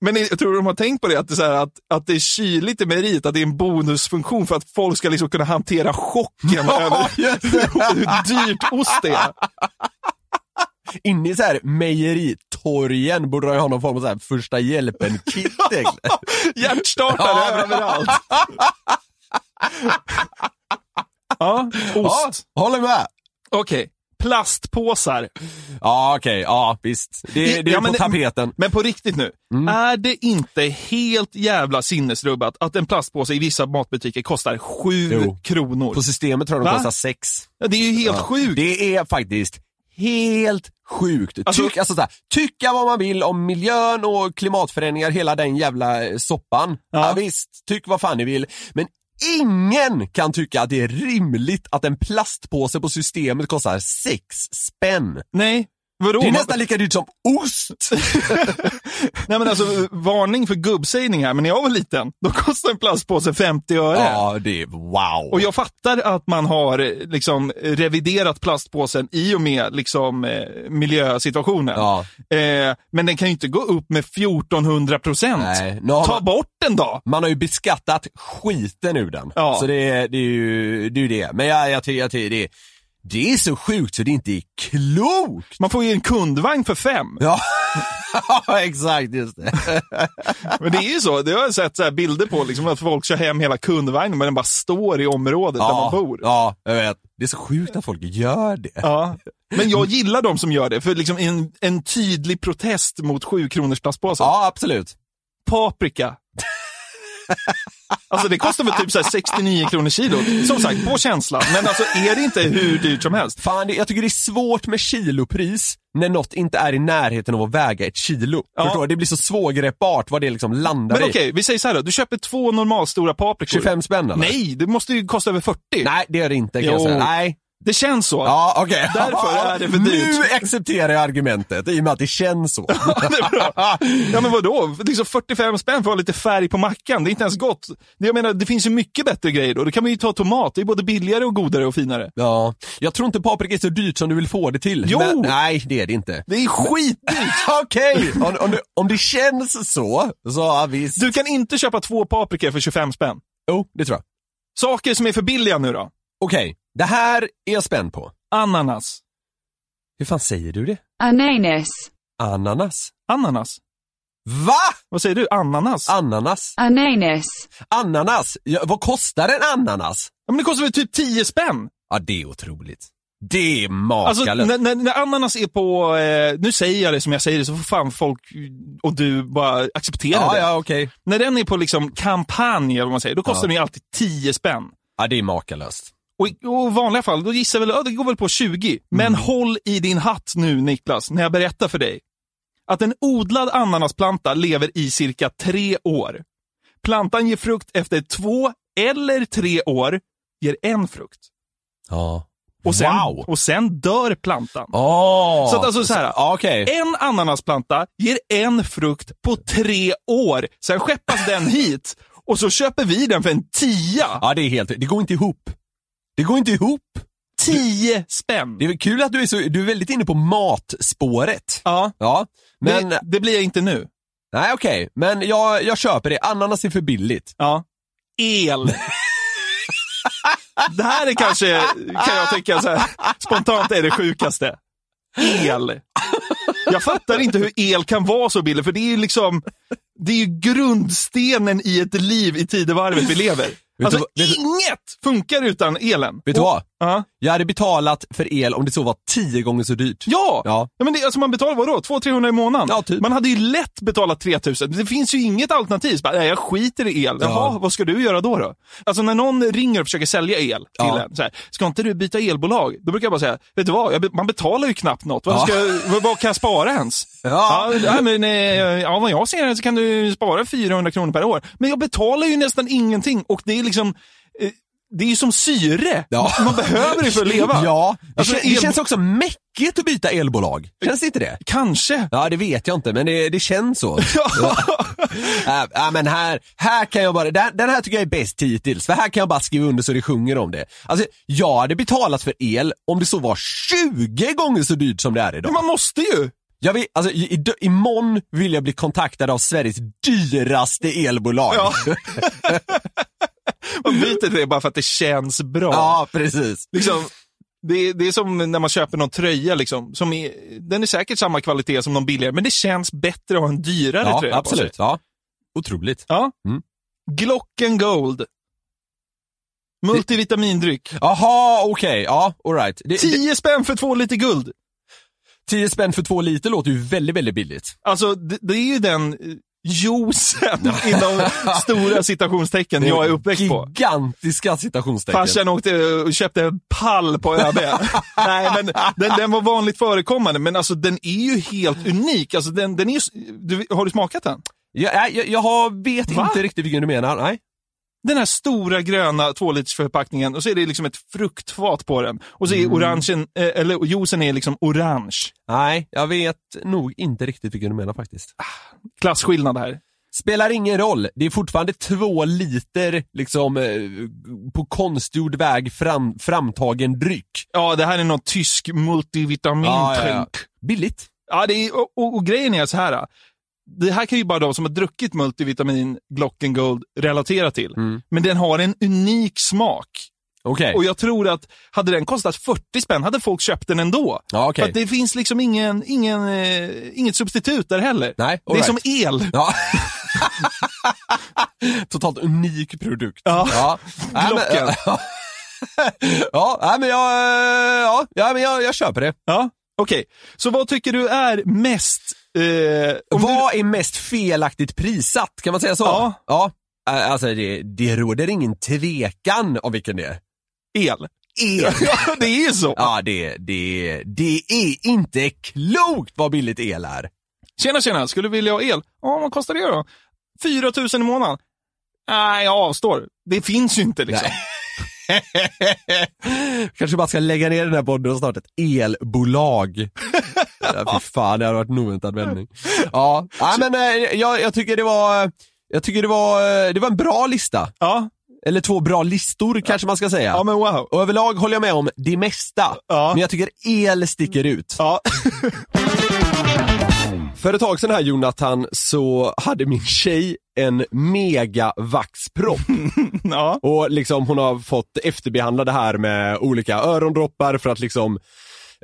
[SPEAKER 5] Men jag tror de har tänkt på det, att det är, så här, att, att det är kyligt i merit, att det är en bonusfunktion för att folk ska liksom kunna hantera chocken över hur dyrt ost är.
[SPEAKER 4] Inne i så här mejeritorgen borde jag ha någon form av så här första hjälpen-kit egentligen.
[SPEAKER 5] Hjärtstartare överallt.
[SPEAKER 4] Ja,
[SPEAKER 5] ja, ost.
[SPEAKER 4] håller med.
[SPEAKER 5] Okej. Plastpåsar.
[SPEAKER 4] Ja, okej. Ja, visst. Det, det är
[SPEAKER 5] Ja, men-
[SPEAKER 4] på tapeten. Mm.
[SPEAKER 5] Men på riktigt nu. Är det inte helt jävla sinnesrubbat att en plastpåse i vissa matbutiker kostar 7
[SPEAKER 4] Jo.
[SPEAKER 5] kronor?
[SPEAKER 4] På systemet tror jag de
[SPEAKER 5] Va?
[SPEAKER 4] kostar sex.
[SPEAKER 5] Ja, Det är ju helt
[SPEAKER 4] Ja.
[SPEAKER 5] sjukt.
[SPEAKER 4] Det är faktiskt helt sjukt.
[SPEAKER 5] Alltså-
[SPEAKER 4] Tyck, alltså så här, tycka vad man vill om miljön och klimatförändringar, hela den jävla eh, soppan. Ja.
[SPEAKER 5] Ja.
[SPEAKER 4] visst, tyck vad fan ni vill. Men ingen kan tycka att det är rimligt att en plastpåse på systemet kostar sex spänn.
[SPEAKER 5] Nej. Vadå?
[SPEAKER 4] Det är
[SPEAKER 5] Man-
[SPEAKER 4] nästan lika dyrt som ost!
[SPEAKER 5] Nej men alltså, varning för gubbsägning här, men när jag var liten, då kostade en plastpåse 50 öre.
[SPEAKER 4] ja, det är wow.
[SPEAKER 5] Och jag fattar att man har eh, liksom reviderat plastpåsen i och med liksom eh, miljösituationen.
[SPEAKER 4] Ja.
[SPEAKER 5] Eh, men den kan ju inte gå upp med 1400 procent.
[SPEAKER 4] Nej, nu har
[SPEAKER 5] Ta
[SPEAKER 4] man-
[SPEAKER 5] bort den då!
[SPEAKER 4] Man har ju beskattat skiten ur den.
[SPEAKER 5] Ja.
[SPEAKER 4] Så det, är- det är ju det. Är ju det. Men jag, jag, ty- jag, tycker det, är- det är så sjukt så det inte är klokt!
[SPEAKER 5] Man får ju en kundvagn för fem.
[SPEAKER 4] Ja, exakt just det.
[SPEAKER 5] Men det är ju så, det har jag sett så här bilder på, liksom, att folk kör hem hela kundvagnen men den bara står i området där man bor.
[SPEAKER 4] ja, jag vet. Det är så sjukt att folk gör det.
[SPEAKER 5] Ja. Men jag gillar de som gör det, för liksom en, en tydlig protest mot 7 kronors plastpåsen.
[SPEAKER 4] Ja, absolut.
[SPEAKER 5] paprika. Alltså det kostar väl typ så här 69 kronor kilot. Som sagt, på känslan. Men alltså är det inte hur dyrt som helst?
[SPEAKER 4] Fan, det, jag tycker det är svårt med kilopris när något inte är i närheten av att väga ett kilo.
[SPEAKER 5] Ja.
[SPEAKER 4] Förstår du? Det blir så svårgreppbart vad det liksom landar
[SPEAKER 5] Men okej,
[SPEAKER 4] i.
[SPEAKER 5] vi säger så här då. Du köper två normalstora paprikor.
[SPEAKER 4] 25 spänn eller?
[SPEAKER 5] Nej, det måste ju kosta över 40.
[SPEAKER 4] Nej, det gör det inte kan jag
[SPEAKER 5] Jo.
[SPEAKER 4] säga. Nej.
[SPEAKER 5] Det känns så.
[SPEAKER 4] Ja, okej.
[SPEAKER 5] Därför är det för dyrt.
[SPEAKER 4] Nu accepterar jag argumentet i och med att det känns så.
[SPEAKER 5] det är bra. Ja men vadå? Liksom 45 spänn för att ha lite färg på mackan. Det är inte ens gott. Jag menar, det finns ju mycket bättre grejer då. Då kan man ju ta tomat. Det är både billigare och godare och finare.
[SPEAKER 4] Ja, jag tror inte paprika är så dyrt som du vill få det till.
[SPEAKER 5] Jo!
[SPEAKER 4] Men, nej, det är det inte.
[SPEAKER 5] Det är skitdyrt!
[SPEAKER 4] Okej, om, om, det- om det känns så, så ja, visst.
[SPEAKER 5] Du kan inte köpa två paprikor för 25 spänn.
[SPEAKER 4] Jo, det tror jag.
[SPEAKER 5] Saker som är för billiga nu då?
[SPEAKER 4] Okej, det här är jag spänd på.
[SPEAKER 5] Ananas.
[SPEAKER 4] Hur fan säger du det?
[SPEAKER 6] Ananas.
[SPEAKER 4] Ananas?
[SPEAKER 5] Ananas.
[SPEAKER 4] Va?
[SPEAKER 5] Vad säger du? Ananas?
[SPEAKER 4] Ananas?
[SPEAKER 6] Ananas.
[SPEAKER 4] Ananas? Ja, vad kostar en ananas?
[SPEAKER 5] ja, men det kostar väl typ 10 spänn?
[SPEAKER 4] Ja, det är otroligt. Det är makalöst.
[SPEAKER 5] Alltså, när, när, när ananas är på, eh, nu säger jag det som jag säger det, så får fan folk och du bara acceptera
[SPEAKER 4] Ja,
[SPEAKER 5] det.
[SPEAKER 4] ja, okej.
[SPEAKER 5] När den är på liksom kampanj, eller vad man säger, då kostar den ju alltid 10 spänn.
[SPEAKER 4] Ja, det är makalöst.
[SPEAKER 5] Och i och i vanliga fall, då gissar jag väl, ja, det går väl på 20. Men
[SPEAKER 4] Mm.
[SPEAKER 5] håll i din hatt nu Niklas, när jag berättar för dig. Att en odlad ananasplanta lever i cirka tre år. Plantan ger frukt efter två eller tre år, ger en frukt.
[SPEAKER 4] Ja.
[SPEAKER 5] Och sen,
[SPEAKER 4] Wow.
[SPEAKER 5] och sen dör plantan.
[SPEAKER 4] Oh.
[SPEAKER 5] Så att alltså så här,
[SPEAKER 4] okej.
[SPEAKER 5] en ananasplanta ger en frukt på tre år. Sen skeppas den hit och så köper vi den för en tia.
[SPEAKER 4] Ja, det är helt Det går inte ihop. Det går inte ihop.
[SPEAKER 5] Tio spänn.
[SPEAKER 4] Det är väl kul att du är så, du är väldigt inne på matspåret.
[SPEAKER 5] Ja.
[SPEAKER 4] Ja, men...
[SPEAKER 5] Det, det blir jag inte nu.
[SPEAKER 4] Nej, okej. Men jag, jag köper det. Ananas är för billigt.
[SPEAKER 5] Ja. El. Det här är kanske, kan jag tycka så här, spontant är det sjukaste. El. Jag fattar inte hur el kan vara så billig, för det är ju liksom, det är ju grundstenen i ett liv i tidevarvet vi lever.
[SPEAKER 4] du
[SPEAKER 5] Alltså,
[SPEAKER 4] vad- vet du-
[SPEAKER 5] inget funkar utan elen.
[SPEAKER 4] Vet du
[SPEAKER 5] Och-
[SPEAKER 4] vad?
[SPEAKER 5] Ja.
[SPEAKER 4] Jag hade betalat för el om det så var tio gånger så dyrt.
[SPEAKER 5] Ja!
[SPEAKER 4] Ja.
[SPEAKER 5] ja men det, alltså man betalar vadå? 200-300 i månaden?
[SPEAKER 4] Ja, typ.
[SPEAKER 5] Man hade ju lätt betalat 3000. Det finns ju inget alternativ. Så Bara, nej, jag skiter i el. Jaha,
[SPEAKER 4] Ja.
[SPEAKER 5] vad ska du göra då? då? Alltså när någon ringer och försöker sälja el till
[SPEAKER 4] Ja.
[SPEAKER 5] en. Så här, ska inte du byta elbolag? Då brukar jag bara säga, vet du vad? Jag, be- man betalar ju knappt något. Vad,
[SPEAKER 4] Ja.
[SPEAKER 5] ska, jag- vad, vad kan jag spara ens?
[SPEAKER 4] Ja.
[SPEAKER 5] nej, men, eh, ja, vad jag ser så kan du spara 400 kronor per år. Men jag betalar ju nästan ingenting och det är liksom eh, det är ju som syre.
[SPEAKER 4] Ja.
[SPEAKER 5] Man behöver det för att leva.
[SPEAKER 4] Ja. Det,
[SPEAKER 5] Alltså,
[SPEAKER 4] kän-
[SPEAKER 5] el-
[SPEAKER 4] det känns också mäckigt att byta elbolag. Känns det inte det?
[SPEAKER 5] Kanske.
[SPEAKER 4] Ja, det vet jag inte, men det, det känns så. ja. Äh, äh, men här, här kan jag bara, den, den här tycker jag är bäst hittills, för här kan jag bara skriva under så det sjunger om det. Alltså, jag hade betalat för el om det så var 20 gånger så dyrt som det är
[SPEAKER 5] Men
[SPEAKER 4] idag.
[SPEAKER 5] man måste ju.
[SPEAKER 4] Jag vill, alltså, i, i, imorgon vill jag bli kontaktad av Sveriges dyraste elbolag.
[SPEAKER 5] Ja. Man byter till det bara för att det känns bra.
[SPEAKER 4] Ja, precis.
[SPEAKER 5] Liksom, det, är- det är som när man köper någon tröja, liksom, som är, den är säkert samma kvalitet som någon billigare, men det känns bättre att ha en dyrare
[SPEAKER 4] Ja,
[SPEAKER 5] tröja på
[SPEAKER 4] absolut.
[SPEAKER 5] sig.
[SPEAKER 4] Ja. Otroligt.
[SPEAKER 5] Ja.
[SPEAKER 4] Mm.
[SPEAKER 5] Glocken Gold. Multivitamindryck.
[SPEAKER 4] Jaha, okej. Ja, alright.
[SPEAKER 5] 10 spänn för två liter guld.
[SPEAKER 4] 10 spänn för två liter låter ju väldigt, väldigt billigt.
[SPEAKER 5] Alltså, det, det är ju den eh, juicen inom stora citationstecken jag är uppväxt på.
[SPEAKER 4] Gigantiska citationstecken.
[SPEAKER 5] Farsan åkte och köpte en pall på ÖB. Nej, men den, den var vanligt förekommande, men alltså den är ju helt unik. Alltså, den, den är ju, s- du, har du smakat den?
[SPEAKER 4] Jag, nej, äh, jag, jag har- vet
[SPEAKER 5] Va?
[SPEAKER 4] inte riktigt vilken du menar. Nej.
[SPEAKER 5] Den här stora gröna tvålitersförpackningen och så är det liksom ett fruktfat på den. Och så är
[SPEAKER 4] Mm.
[SPEAKER 5] orangen, eh, eller juicen är liksom orange.
[SPEAKER 4] nej, jag vet nog inte riktigt vilken du menar faktiskt.
[SPEAKER 5] Klasskillnad här.
[SPEAKER 4] Spelar ingen roll, det är fortfarande två liter liksom eh, på konstgjord väg fram, framtagen dryck.
[SPEAKER 5] Ja, det här är någon tysk
[SPEAKER 4] Ja,
[SPEAKER 5] multivitamintänk.
[SPEAKER 4] ja,
[SPEAKER 5] Ja,
[SPEAKER 4] ja. Billigt.
[SPEAKER 5] det är, och, och, och grejen är så här. äh, Det här kan ju bara de som har druckit multivitamin Glocken Gold relatera till.
[SPEAKER 4] Mm.
[SPEAKER 5] Men den har en unik smak.
[SPEAKER 4] Okej.
[SPEAKER 5] Och jag tror att hade den kostat 40 spänn hade folk köpt den ändå.
[SPEAKER 4] Ja, okej.
[SPEAKER 5] För att det finns liksom ingen, ingen, eh, inget substitut där heller.
[SPEAKER 4] Nej,
[SPEAKER 5] det är
[SPEAKER 4] all right.
[SPEAKER 5] som el.
[SPEAKER 4] Ja. Totalt unik produkt.
[SPEAKER 5] Ja.
[SPEAKER 4] Nej, men-
[SPEAKER 5] Glocken.
[SPEAKER 4] ja, nej, men jag, eh, ja, ja, men jag, jag köper det.
[SPEAKER 5] Ja, Okej, så vad tycker du är mest... Eh, om du,
[SPEAKER 4] Vad är mest felaktigt prissatt? Kan man säga så?
[SPEAKER 5] Ja.
[SPEAKER 4] ja. Eh, Alltså det, det råder ingen tvekan om vilken det är.
[SPEAKER 5] el. El. ja, det är ju så.
[SPEAKER 4] Ja, det, det, det är inte klokt vad billigt el är.
[SPEAKER 5] Tjena, tjena, skulle du vilja ha el? Ja, vad kostar det då? 4 000 i månaden? Nej, jag avstår. Det finns ju inte liksom.
[SPEAKER 4] Kanske bara ska lägga ner den här podden och starta ett elbolag. ja, fy fan, det hade varit en oväntad vändning. Ja, ja men eh, jag, jag tycker det var, jag tycker det var, eh, det var en bra lista.
[SPEAKER 5] Ja,
[SPEAKER 4] Eller två bra listor kanske man ska säga.
[SPEAKER 5] ja men wow.
[SPEAKER 4] Och överlag håller jag med om det mesta.
[SPEAKER 5] Ja.
[SPEAKER 4] Men jag tycker el sticker ut.
[SPEAKER 5] Ja.
[SPEAKER 4] För ett tag sedan här Jonathan så hade min tjej en mega vaxpropp.
[SPEAKER 5] ja.
[SPEAKER 4] Och liksom hon har fått efterbehandla det här med olika örondroppar för att liksom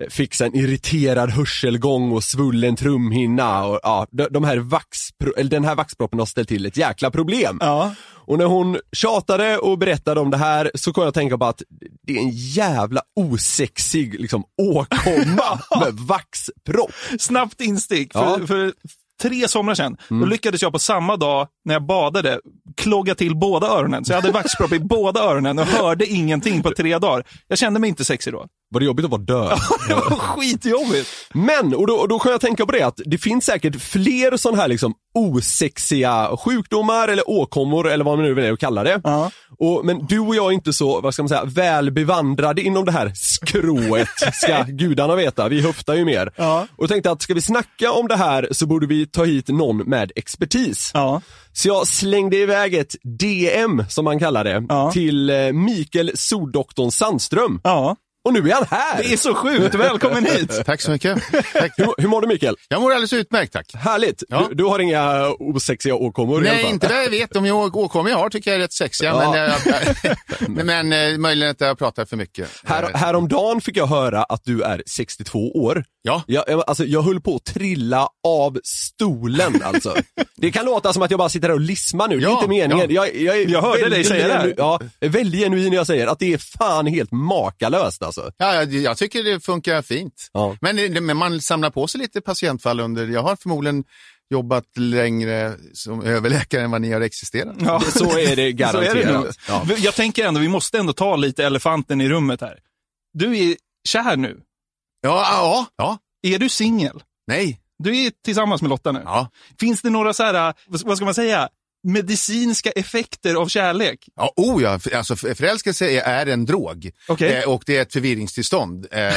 [SPEAKER 4] eh, fixa en irriterad hörselgång och svullen trumhinna och ja, de, de här vaxpro, eller den här vaxproppen har ställt till ett jäkla problem. Och när hon tjatade och berättade om det här så kom jag att tänka på att det är en jävla osexig liksom åkomma med vaxpropp.
[SPEAKER 5] Snabbt instick. För,
[SPEAKER 4] Ja.
[SPEAKER 5] för tre somrar sedan, då lyckades jag på samma dag när jag badade klogga till båda öronen. Så jag hade vaxpropp i båda öronen och hörde ingenting på tre dagar. Jag kände mig inte sexig då.
[SPEAKER 4] Var det jobbigt att vara död?
[SPEAKER 5] Det var skitjobbigt.
[SPEAKER 4] Men, och då, och då kan jag tänka på det att det finns säkert fler sådana här liksom osexiga sjukdomar eller åkommor eller vad man nu vill kalla det. Och, men du och jag är inte så, vad ska man säga, välbevandrade inom det här skrået, ska gudarna veta. Vi höftar ju mer. Och jag tänkte att ska vi snacka om det här så borde vi ta hit någon med expertis. Så jag slängde iväg ett DM, som man kallar det, till eh, Mikael Soldoktorn Sandström. Och nu är han här!
[SPEAKER 5] Det är så sjukt. Välkommen hit.
[SPEAKER 11] Tack så mycket. Tack.
[SPEAKER 4] Hur, hur mår du Mikael?
[SPEAKER 11] Jag mår alldeles utmärkt tack.
[SPEAKER 4] Härligt.
[SPEAKER 11] Ja.
[SPEAKER 4] Du, du har inga osexiga åkommor i alla
[SPEAKER 11] Nej,
[SPEAKER 4] fall.
[SPEAKER 11] inte vad jag vet. De jag- åkommor jag har tycker jag är rätt sexiga,
[SPEAKER 4] Ja.
[SPEAKER 11] men, jag, jag, men eh, möjligen att jag pratar för mycket.
[SPEAKER 4] Här, häromdagen fick jag höra att du är 62 år.
[SPEAKER 11] Ja.
[SPEAKER 4] Jag, jag- alltså, jag höll på att trilla av stolen alltså. det kan låta som att jag bara sitter här och lismar nu, det är
[SPEAKER 11] Ja,
[SPEAKER 4] inte meningen.
[SPEAKER 11] ja.
[SPEAKER 4] Jag, jag, är
[SPEAKER 11] Jag hörde dig
[SPEAKER 4] väldigt
[SPEAKER 11] säga det här.
[SPEAKER 4] genu- Ja, jag är väldigt genuin när jag säger att det är fan helt makalöst alltså.
[SPEAKER 11] Ja, jag, jag tycker det funkar fint. Men, det- men man samlar på sig lite patientfall under, jag har förmodligen jobbat längre eh, som överläkare än vad ni har existerat.
[SPEAKER 5] Ja. Så är det nog.
[SPEAKER 11] Ja.
[SPEAKER 5] Jag tänker ändå, vi måste ändå ta lite elefanten i rummet här. Du är kär nu.
[SPEAKER 11] Ja, ja. ja.
[SPEAKER 5] Är du singel?
[SPEAKER 11] Nej.
[SPEAKER 5] Du är tillsammans med Lotta nu.
[SPEAKER 11] Ja.
[SPEAKER 5] Finns det några så här, vad vad ska man säga, medicinska effekter av kärlek?
[SPEAKER 11] Ja, oh ja. För- Alltså, för- förälskelse är- är en drog
[SPEAKER 5] Okej.
[SPEAKER 11] eh, och det är ett förvirringstillstånd. Eh,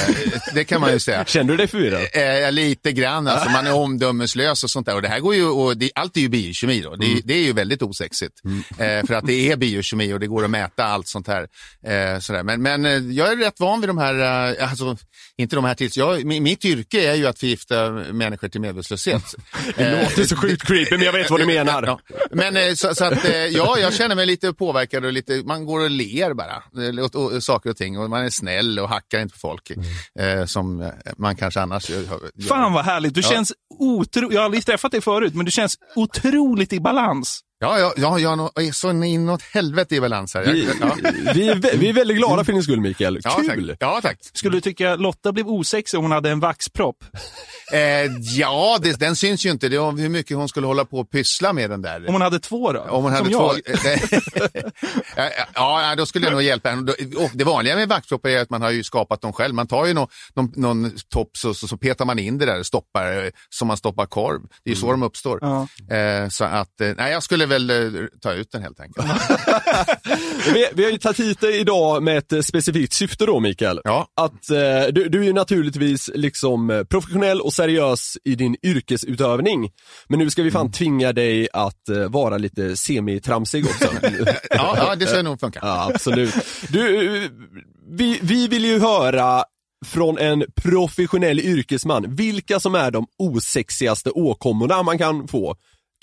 [SPEAKER 11] det kan man ju säga.
[SPEAKER 4] Känner du dig förvirrad?
[SPEAKER 11] Eh, lite grann. Alltså, man är omdömeslös och sånt där. Och det här går ju, och det, allt är ju biokemi då. Det,
[SPEAKER 7] Mm.
[SPEAKER 11] det är ju väldigt osexigt. Eh, för att det är biokemi och det går att mäta allt sånt här. Eh, sådär. Men, men eh, jag är rätt van vid de här, eh, alltså, inte de här tills. Jag, mi- mitt yrke är ju att förgifta människor till medvetslöshet.
[SPEAKER 4] Det
[SPEAKER 11] Eh,
[SPEAKER 4] låter så sjukt creepy men jag vet vad du menar.
[SPEAKER 11] men eh, så, så att, eh, ja, jag känner mig lite påverkad och lite, man går och ler bara eh, åt åt saker och ting och man är snäll och hackar inte på folk eh, som eh, man kanske annars gör. gör.
[SPEAKER 5] Mm. Fan vad härligt. Du
[SPEAKER 11] Ja.
[SPEAKER 5] känns otro... Jag har aldrig träffat dig förut, men du känns otroligt i balans.
[SPEAKER 11] Ja, ja, ja, jag är så inåt helvete i balans här. Jag,
[SPEAKER 4] Vi,
[SPEAKER 11] ja.
[SPEAKER 4] vi, är vä- vi är väldigt glada för din skull Mikael.
[SPEAKER 11] Ja, tack.
[SPEAKER 4] Kul!
[SPEAKER 11] Ja, tack.
[SPEAKER 5] Skulle du tycka Lotta blev osexig om hon hade en vaxpropp?
[SPEAKER 11] Eh, ja, det, den syns ju inte. Det är om hur mycket hon skulle hålla på och pyssla med den där.
[SPEAKER 5] Om hon hade två då?
[SPEAKER 11] Om hon hade
[SPEAKER 5] Som
[SPEAKER 11] två... eh,
[SPEAKER 5] jag.
[SPEAKER 11] ja, ja, då skulle jag nog hjälpa henne. Och Det vanliga med vaxproppar är att man har ju skapat dem själv. Man tar ju någon, någon, någon tops och så, så petar man in det där och stoppar eh, som man stoppar korv. Det är ju så de uppstår. Eh, så att, eh, nej, jag skulle väl eh, ta ut den helt enkelt.
[SPEAKER 4] Vi, vi har ju tagit hit dig idag med ett eh, specifikt syfte då Mikael. Att eh, du, du är ju naturligtvis liksom eh, professionell och seriös i din yrkesutövning. Men nu ska vi fan
[SPEAKER 5] Mm.
[SPEAKER 4] tvinga dig att eh, vara lite semitramsig också.
[SPEAKER 11] Ja, ja, det ska nog funka.
[SPEAKER 4] Ja, absolut. Du, eh, vi, vi vill ju höra från en professionell yrkesman vilka som är de osexigaste åkommorna man kan få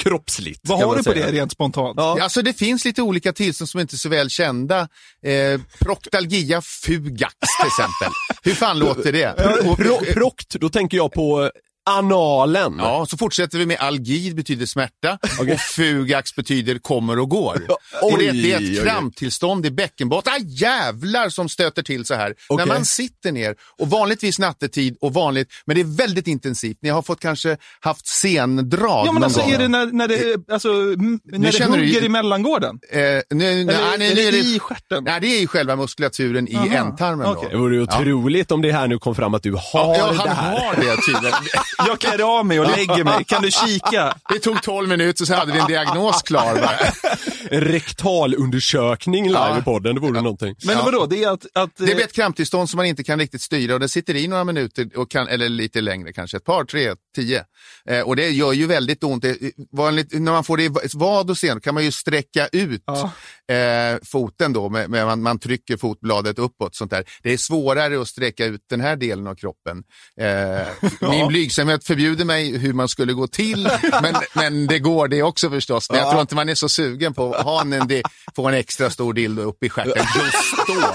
[SPEAKER 4] kroppsligt.
[SPEAKER 5] Vad
[SPEAKER 4] kan
[SPEAKER 5] har
[SPEAKER 4] man
[SPEAKER 5] du på
[SPEAKER 4] säga.
[SPEAKER 5] det rent spontant?
[SPEAKER 11] Ja. Alltså det finns lite olika tillstånd som inte är så väl kända. Eh, proktalgia fugax till exempel. Hur fan låter det?
[SPEAKER 4] Pro, pro, prokt, då tänker jag på eh, analen.
[SPEAKER 11] Ja, så fortsätter vi med algi, betyder smärta och fugax betyder kommer och går.
[SPEAKER 4] Oj,
[SPEAKER 11] och det, det är
[SPEAKER 4] oj, oj.
[SPEAKER 11] ett kramptillstånd i bäckenbotten. Ah, jävlar som stöter till så här.
[SPEAKER 4] Okej.
[SPEAKER 11] När man sitter ner och vanligtvis nattetid och vanligt, men det är väldigt intensivt. Ni har fått kanske haft sendrag
[SPEAKER 5] Ja, men
[SPEAKER 11] någon
[SPEAKER 5] alltså
[SPEAKER 11] gång.
[SPEAKER 5] är det när, när det, alltså, m- när det
[SPEAKER 11] känner du-
[SPEAKER 5] hugger i mellangården?
[SPEAKER 11] Eh, nu, nej,
[SPEAKER 5] Eller
[SPEAKER 11] nej,
[SPEAKER 5] är
[SPEAKER 11] nu
[SPEAKER 5] det
[SPEAKER 11] är det
[SPEAKER 5] i stjärten?
[SPEAKER 11] Nej, det är i själva muskulaturen i
[SPEAKER 5] Aha,
[SPEAKER 11] ändtarmen.
[SPEAKER 5] okej.
[SPEAKER 4] Det vore ju otroligt om det här nu kom fram att du har
[SPEAKER 11] Ja, han
[SPEAKER 4] det här.
[SPEAKER 11] har det tydligen.
[SPEAKER 5] Jag klär av mig och lägger mig. Kan du kika?
[SPEAKER 11] Det tog 12 minuter så hade vi en diagnos klar. Bara.
[SPEAKER 4] En rektalundersökning live
[SPEAKER 11] Ja.
[SPEAKER 4] i podden, det vore någonting.
[SPEAKER 5] Men
[SPEAKER 11] Ja.
[SPEAKER 5] vadå, det är att... att eh,
[SPEAKER 11] Det blir ett kramptillstånd som man inte kan riktigt styra och det sitter i några minuter, och kan, eller lite längre kanske, ett par, tre, tio. Eh, och det gör ju väldigt ont. Det, vanligt, när man får det i va- vad och sen kan man ju sträcka ut eh, foten då, med, med, man, man trycker fotbladet uppåt. sånt där. Det är svårare att sträcka ut den här delen av kroppen. Eh, Min blygsamhet förbjuder mig hur man skulle gå till, men, men det går det också förstås. Men jag tror inte man är så sugen på hanen det får en extra stor dildo upp i stjärten just då.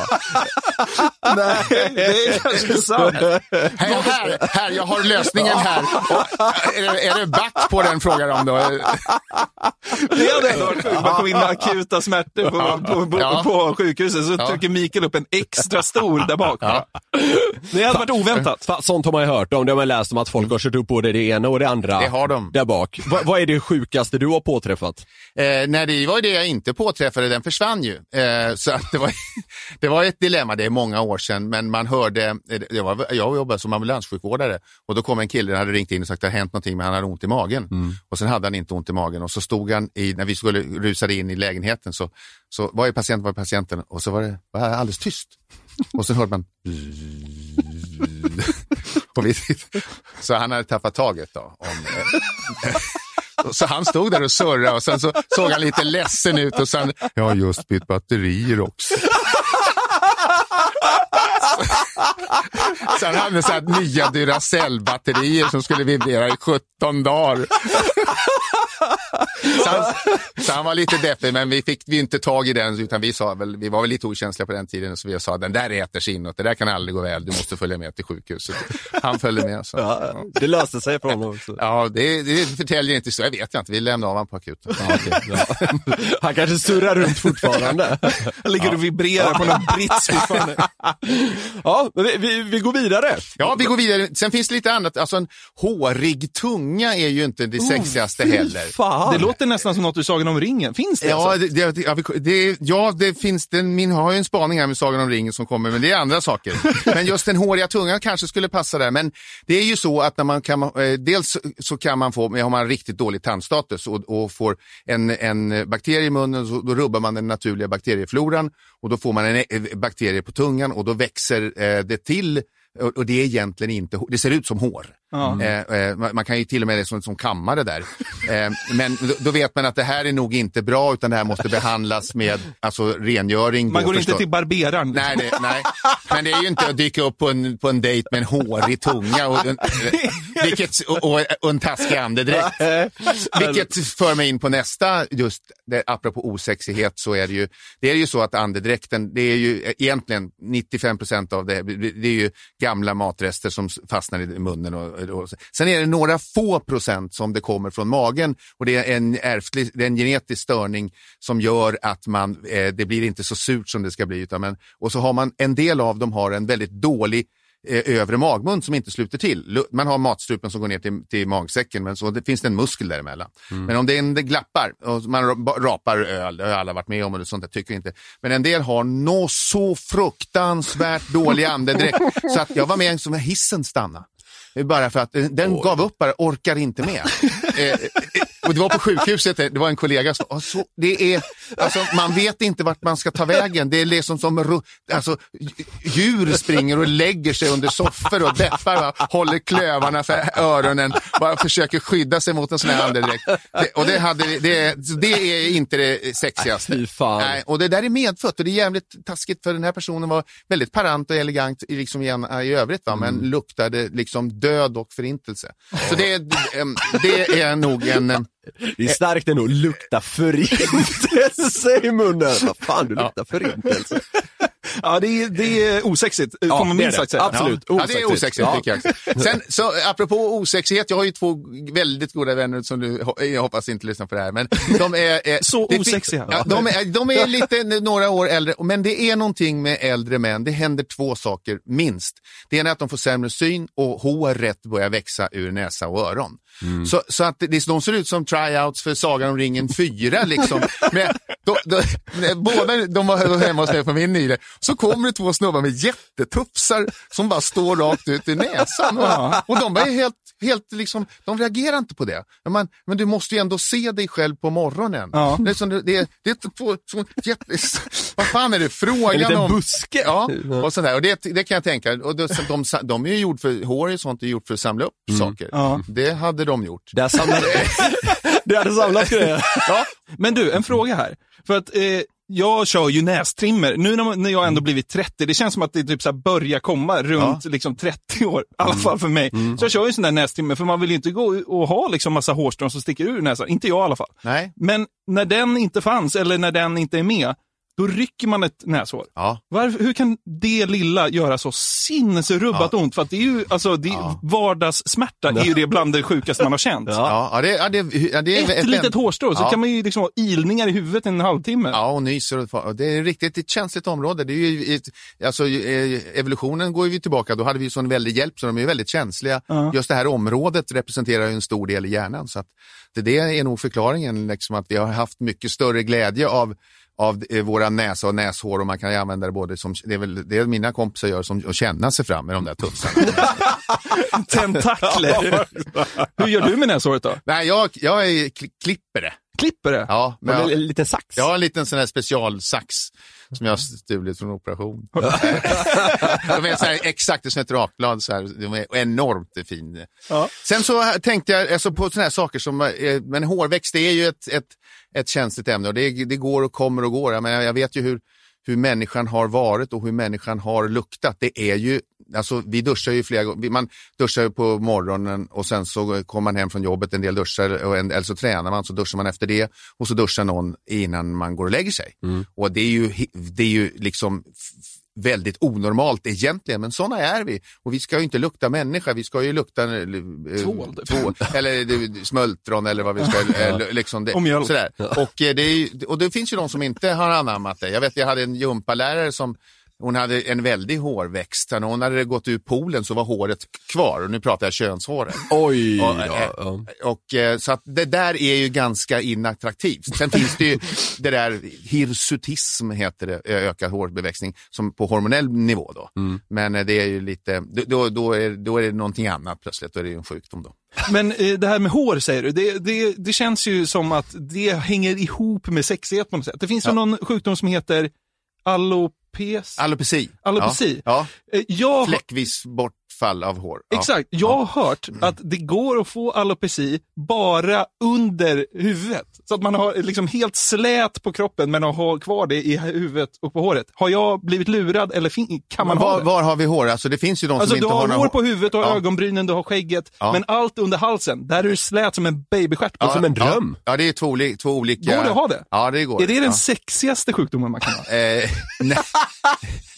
[SPEAKER 5] Nej, det är kanske sant.
[SPEAKER 11] Här, här, här, jag har lösningen här. Och, är, det, är det back på den frågar de då?
[SPEAKER 5] Det hade ändå varit sjukt. Man kom in med akuta smärtor på, på, på,
[SPEAKER 11] Ja.
[SPEAKER 5] på sjukhuset så
[SPEAKER 11] Ja.
[SPEAKER 5] trycker Mikael upp en extra stor där bak. Det hade varit oväntat.
[SPEAKER 4] Fan, sånt har man ju hört om. Det har man läst om att folk har kört upp både det ena och det andra.
[SPEAKER 11] Mm. Det har de.
[SPEAKER 4] Där bak. Va, vad är det sjukaste du har påträffat?
[SPEAKER 11] Eh, nej, det var ju det jag inte påträffade, den försvann ju. Eh, så att det, var, det var ett dilemma, det är många år sedan, men man hörde, eh, jag, var, jag jobbade som ambulanssjukvårdare och då kom en kille, han hade ringt in och sagt att det har hänt någonting men han hade ont i magen. Och sen hade han inte ont i magen och så stod han, i, när vi skulle rusade in i lägenheten, så, så var är patienten, var är patienten? Och så var det var det alldeles tyst. Och sen hörde man och vi, så han hade tappat taget då. Om, eh, så han stod där och surrade och sen så såg han lite ledsen ut och sen, jag har just bytt batterier också. Så han hade så här nya Duracell-batterier som skulle vibrera i 17 dagar. Så han, så han var lite deppig, men vi fick vi inte tag i den, utan vi, sa väl, vi var väl lite okänsliga på den tiden, så vi sa den där äter sig inåt, det där kan aldrig gå väl, du måste följa med till sjukhuset. Han följde med. Så. Ja,
[SPEAKER 4] det löste sig för honom också.
[SPEAKER 11] Ja, det, det förtäljer inte så, jag vet jag inte, vi lämnade av honom på akuten.
[SPEAKER 4] Han kanske surrar runt fortfarande.
[SPEAKER 5] Han ligger och vibrerar på någon brits fortfarande.
[SPEAKER 4] Ja, men vi, vi, vi går vidare.
[SPEAKER 11] Ja, vi går vidare. Sen finns det lite annat, alltså en hårig tunga är ju inte det sexigaste heller.
[SPEAKER 5] Det låter nästan som något ur Sagan om ringen. Finns det?
[SPEAKER 11] Ja,
[SPEAKER 5] alltså?
[SPEAKER 11] det, det, ja, vi- det, ja, det finns, den, min har ju en spaning här med Sagan om ringen som kommer, men det är andra saker. Men just den håriga tungan kanske skulle passa där, men det är ju så att när man kan, eh, dels så kan man få, men har man riktigt dålig tandstatus och, och får en, en bakterie i munnen, så, då rubbar man den naturliga bakteriefloran och då får man en eh, bakterie på tungan och då växer eh, det till och och det är egentligen inte, hår. det ser ut som hår.
[SPEAKER 5] Ja.
[SPEAKER 11] Eh, eh, man man kan ju till och med det som, som kammare där. Eh, men då, då vet man att det här är nog inte bra utan det här måste behandlas med alltså, rengöring.
[SPEAKER 5] Man
[SPEAKER 11] då
[SPEAKER 5] går inte
[SPEAKER 11] förstå-
[SPEAKER 5] till barberaren. liksom.
[SPEAKER 11] Nej, det, nej, men det är ju inte att dyka upp på en, på en dejt med en hårig tunga och, en- vilket, och, och, och en taskig andedräkt. Vilket för mig in på nästa, just det, apropå osexighet, så är det ju, det är ju så att andedräkten, det är ju egentligen 95 procent av det, det är ju gamla matrester som fastnar i munnen. Och, och, sen är det några få procent som det kommer från magen och det är en ärftlig, det är en genetisk störning som gör att man, eh, det blir inte så surt som det ska bli. Utan men, och så har man, en del av dem har en väldigt dålig eh, övre magmun som inte sluter till. Lu- Man har matstrupen som går ner till, till magsäcken men så det, finns det en muskel däremellan. Men om det, är en, det glappar och man ra- ba- rapar öl, det har alla varit med om och det- sånt där tycker vi inte. Men en del har nå så fruktansvärt dålig andedräkt så att jag var med i en som hissen stanna. Bara för att eh, den gav upp bara, orkar inte med. Eh, eh, och det var på sjukhuset, eh, det var en kollega som, "Ah, så, det är, alltså, man vet inte vart man ska ta vägen. Det är liksom som, ru- alltså, dj- djur springer och lägger sig under soffor och deppar, va? håller klövarna för öronen, bara försöker skydda sig mot en sån här andedräkt. Det, och det, hade, det, det är inte det sexigaste.
[SPEAKER 4] Fy fan.
[SPEAKER 11] Nej, och det där är medfött och det är jävligt taskigt för den här personen var väldigt parant och elegant i, liksom igen, i övrigt va? men luktade liksom död och förintelse. Så det, är- ehm, det är nog en... ehm,
[SPEAKER 4] Det är starkt ändå, lukta förintelse i munnen. Vad fan, du luktar förintelse.
[SPEAKER 5] Ja, det, är, det är osexigt,
[SPEAKER 4] Ja,
[SPEAKER 5] får man
[SPEAKER 4] det är
[SPEAKER 5] minst
[SPEAKER 4] det.
[SPEAKER 5] sagt säga.
[SPEAKER 4] Absolut.
[SPEAKER 11] Ja, det är osexigt
[SPEAKER 4] Ja.
[SPEAKER 11] tycker jag. Sen, så, apropå osexighet, jag har ju två väldigt goda vänner som du, jag hoppas inte lyssnar på det här. Men de är, eh,
[SPEAKER 5] Så
[SPEAKER 11] det fin-
[SPEAKER 5] osexiga.
[SPEAKER 11] Ja, de, är, de är lite några år äldre, men det är någonting med äldre män. Det händer två saker minst. Det ena är att de får sämre syn och håret börjar växa ur näsa och öron. Så, så att det, de ser ut som tryouts för Sagan om ringen 4. Liksom. Men, då, då, båda de var hemma hos mig på min nyligen. Så kommer det två snubbar med jättetufsar som bara står rakt ut i näsan. Och, och de var ju helt, helt liksom, de reagerar inte på det. Men, man, men du måste ju ändå se dig själv på morgonen.
[SPEAKER 5] Ja.
[SPEAKER 11] Det, är som, det, är- det är två, två jätte, vad fan är det frågan
[SPEAKER 4] En liten
[SPEAKER 11] om?
[SPEAKER 4] buske.
[SPEAKER 11] Ja, och, sådär. och det, det kan jag tänka. Och då, så de, de är ju gjord för, hår och sånt är gjort för att samla upp saker.
[SPEAKER 5] Ja.
[SPEAKER 11] Det hade de gjort.
[SPEAKER 4] Där samlade... det hade samlats grejer.
[SPEAKER 5] Men du, en fråga här. För att eh, jag kör ju nästrimmer. Nu när, man, när jag ändå blivit 30, det känns som att det typ så här börjar komma runt liksom 30 år, i alla fall för mig. Så jag kör ju en sån där nästrimmer, för man vill ju inte gå och ha liksom massa hårstrån som sticker ur näsan. Inte jag i alla fall.
[SPEAKER 11] Nej.
[SPEAKER 5] Men när den inte fanns, eller när den inte är med, då rycker man ett näshår. Varför, hur kan det lilla göra så sinnesrubbat ont? För att det är ju, alltså, det är, vardagssmärta är ju det bland det sjukaste man har känt.
[SPEAKER 11] Ja, ja, det, ja, det, ja, det är
[SPEAKER 5] ett, litet hårstrå, så
[SPEAKER 11] Ja.
[SPEAKER 5] kan man ju liksom ha ilningar i huvudet i en halvtimme.
[SPEAKER 11] Ja, och nyser. och fa- och Det är riktigt ett känsligt område. Det är ju, ett- alltså, eh, evolutionen går ju tillbaka, då hade vi ju sån väldig hjälp så de är ju väldigt känsliga. Just det här området representerar ju en stor del i hjärnan. Så att det, det är nog förklaringen, liksom, att vi har haft mycket större glädje av av eh, våra näsa och näshår och man kan ju använda det både som, det är väl det mina kompisar gör, som att känna sig fram med de där tussarna.
[SPEAKER 5] Tentakler! Hur gör du med näshåret då?
[SPEAKER 11] Nej, jag, jag är kli- klipper det.
[SPEAKER 5] Klipper det?
[SPEAKER 11] Ja, men
[SPEAKER 5] Men
[SPEAKER 11] jag,
[SPEAKER 5] en liten sax?
[SPEAKER 11] Jag har en liten sån här specialsax som jag har stulit från operation. de är så här, exakt som ett rakblad, så här, de är enormt fin. Sen så här tänkte jag alltså, på såna här saker som, eh, men hårväxt det är ju ett, ett, ett känsligt ämne och det, det går och kommer och går. Jag, menar, jag vet ju hur, hur människan har varit och hur människan har luktat. Det är ju, alltså vi duschar ju flera gånger, man duschar ju på morgonen och sen så kommer man hem från jobbet, en del duschar, och en, eller så tränar man, så duschar man efter det och så duschar någon innan man går och lägger sig.
[SPEAKER 5] Mm.
[SPEAKER 11] Och det är ju, he- det är ju liksom f- väldigt onormalt egentligen, men sådana är vi. Och vi ska ju inte lukta människa, vi ska ju lukta eh, eh,
[SPEAKER 5] Tvål. typ.
[SPEAKER 11] tvål eller eh, smultron eller vad vi ska, eh, l- liksom det,
[SPEAKER 5] Och mjölk.
[SPEAKER 11] sådär. Och, eh, det är, ju- och det finns ju de som inte har anammat det. Jag vet, jag hade en gympalärare som hon hade en väldig hårväxt. När hon hade gått ur poolen så var håret kvar och nu pratar jag könshåret.
[SPEAKER 4] Oj,
[SPEAKER 11] och,
[SPEAKER 4] ja,
[SPEAKER 11] eh, och, eh, så att det där är ju ganska inattraktivt. Sen finns det ju det där hirsutism heter det, ö- ökad hårbeväxtning, som på hormonell nivå då.
[SPEAKER 5] Mm.
[SPEAKER 11] Men eh, det är ju lite, då- då, då, är, då är det någonting annat plötsligt, då är det ju en sjukdom då.
[SPEAKER 5] Men eh, det här med hår säger du, det, det, det känns ju som att det hänger ihop med sexighet på något sätt. Det finns ju någon sjukdom som heter alopes...
[SPEAKER 11] Alopeci.
[SPEAKER 5] Alopeci.
[SPEAKER 11] Ja.
[SPEAKER 5] Eh, Jag,
[SPEAKER 11] Fläckvis bortfall av hår. Ja. Mm.
[SPEAKER 5] Exakt, jag har hört att det går att få alopeci bara under huvudet. Så att man har liksom helt slät på kroppen men har kvar det i huvudet och på håret. Har jag blivit lurad eller fin- kan man
[SPEAKER 11] Men
[SPEAKER 5] ha
[SPEAKER 11] var,
[SPEAKER 5] det?
[SPEAKER 11] var har vi hår? Alltså det finns ju de
[SPEAKER 5] Alltså
[SPEAKER 11] som
[SPEAKER 5] du
[SPEAKER 11] inte
[SPEAKER 5] har
[SPEAKER 11] har några
[SPEAKER 5] hår på huvudet, du har
[SPEAKER 11] Ja.
[SPEAKER 5] ögonbrynen, du har skägget.
[SPEAKER 11] Ja.
[SPEAKER 5] Men allt under halsen, där är du slät som en babystjärt.
[SPEAKER 11] Ja,
[SPEAKER 5] Och som en dröm.
[SPEAKER 11] Ja, ja det är två, oli- två olika.
[SPEAKER 5] Går det att ha det?
[SPEAKER 11] Ja, det går.
[SPEAKER 5] Är det den
[SPEAKER 11] ja.
[SPEAKER 5] sexigaste sjukdomen man kan ha?
[SPEAKER 11] Eh, nej,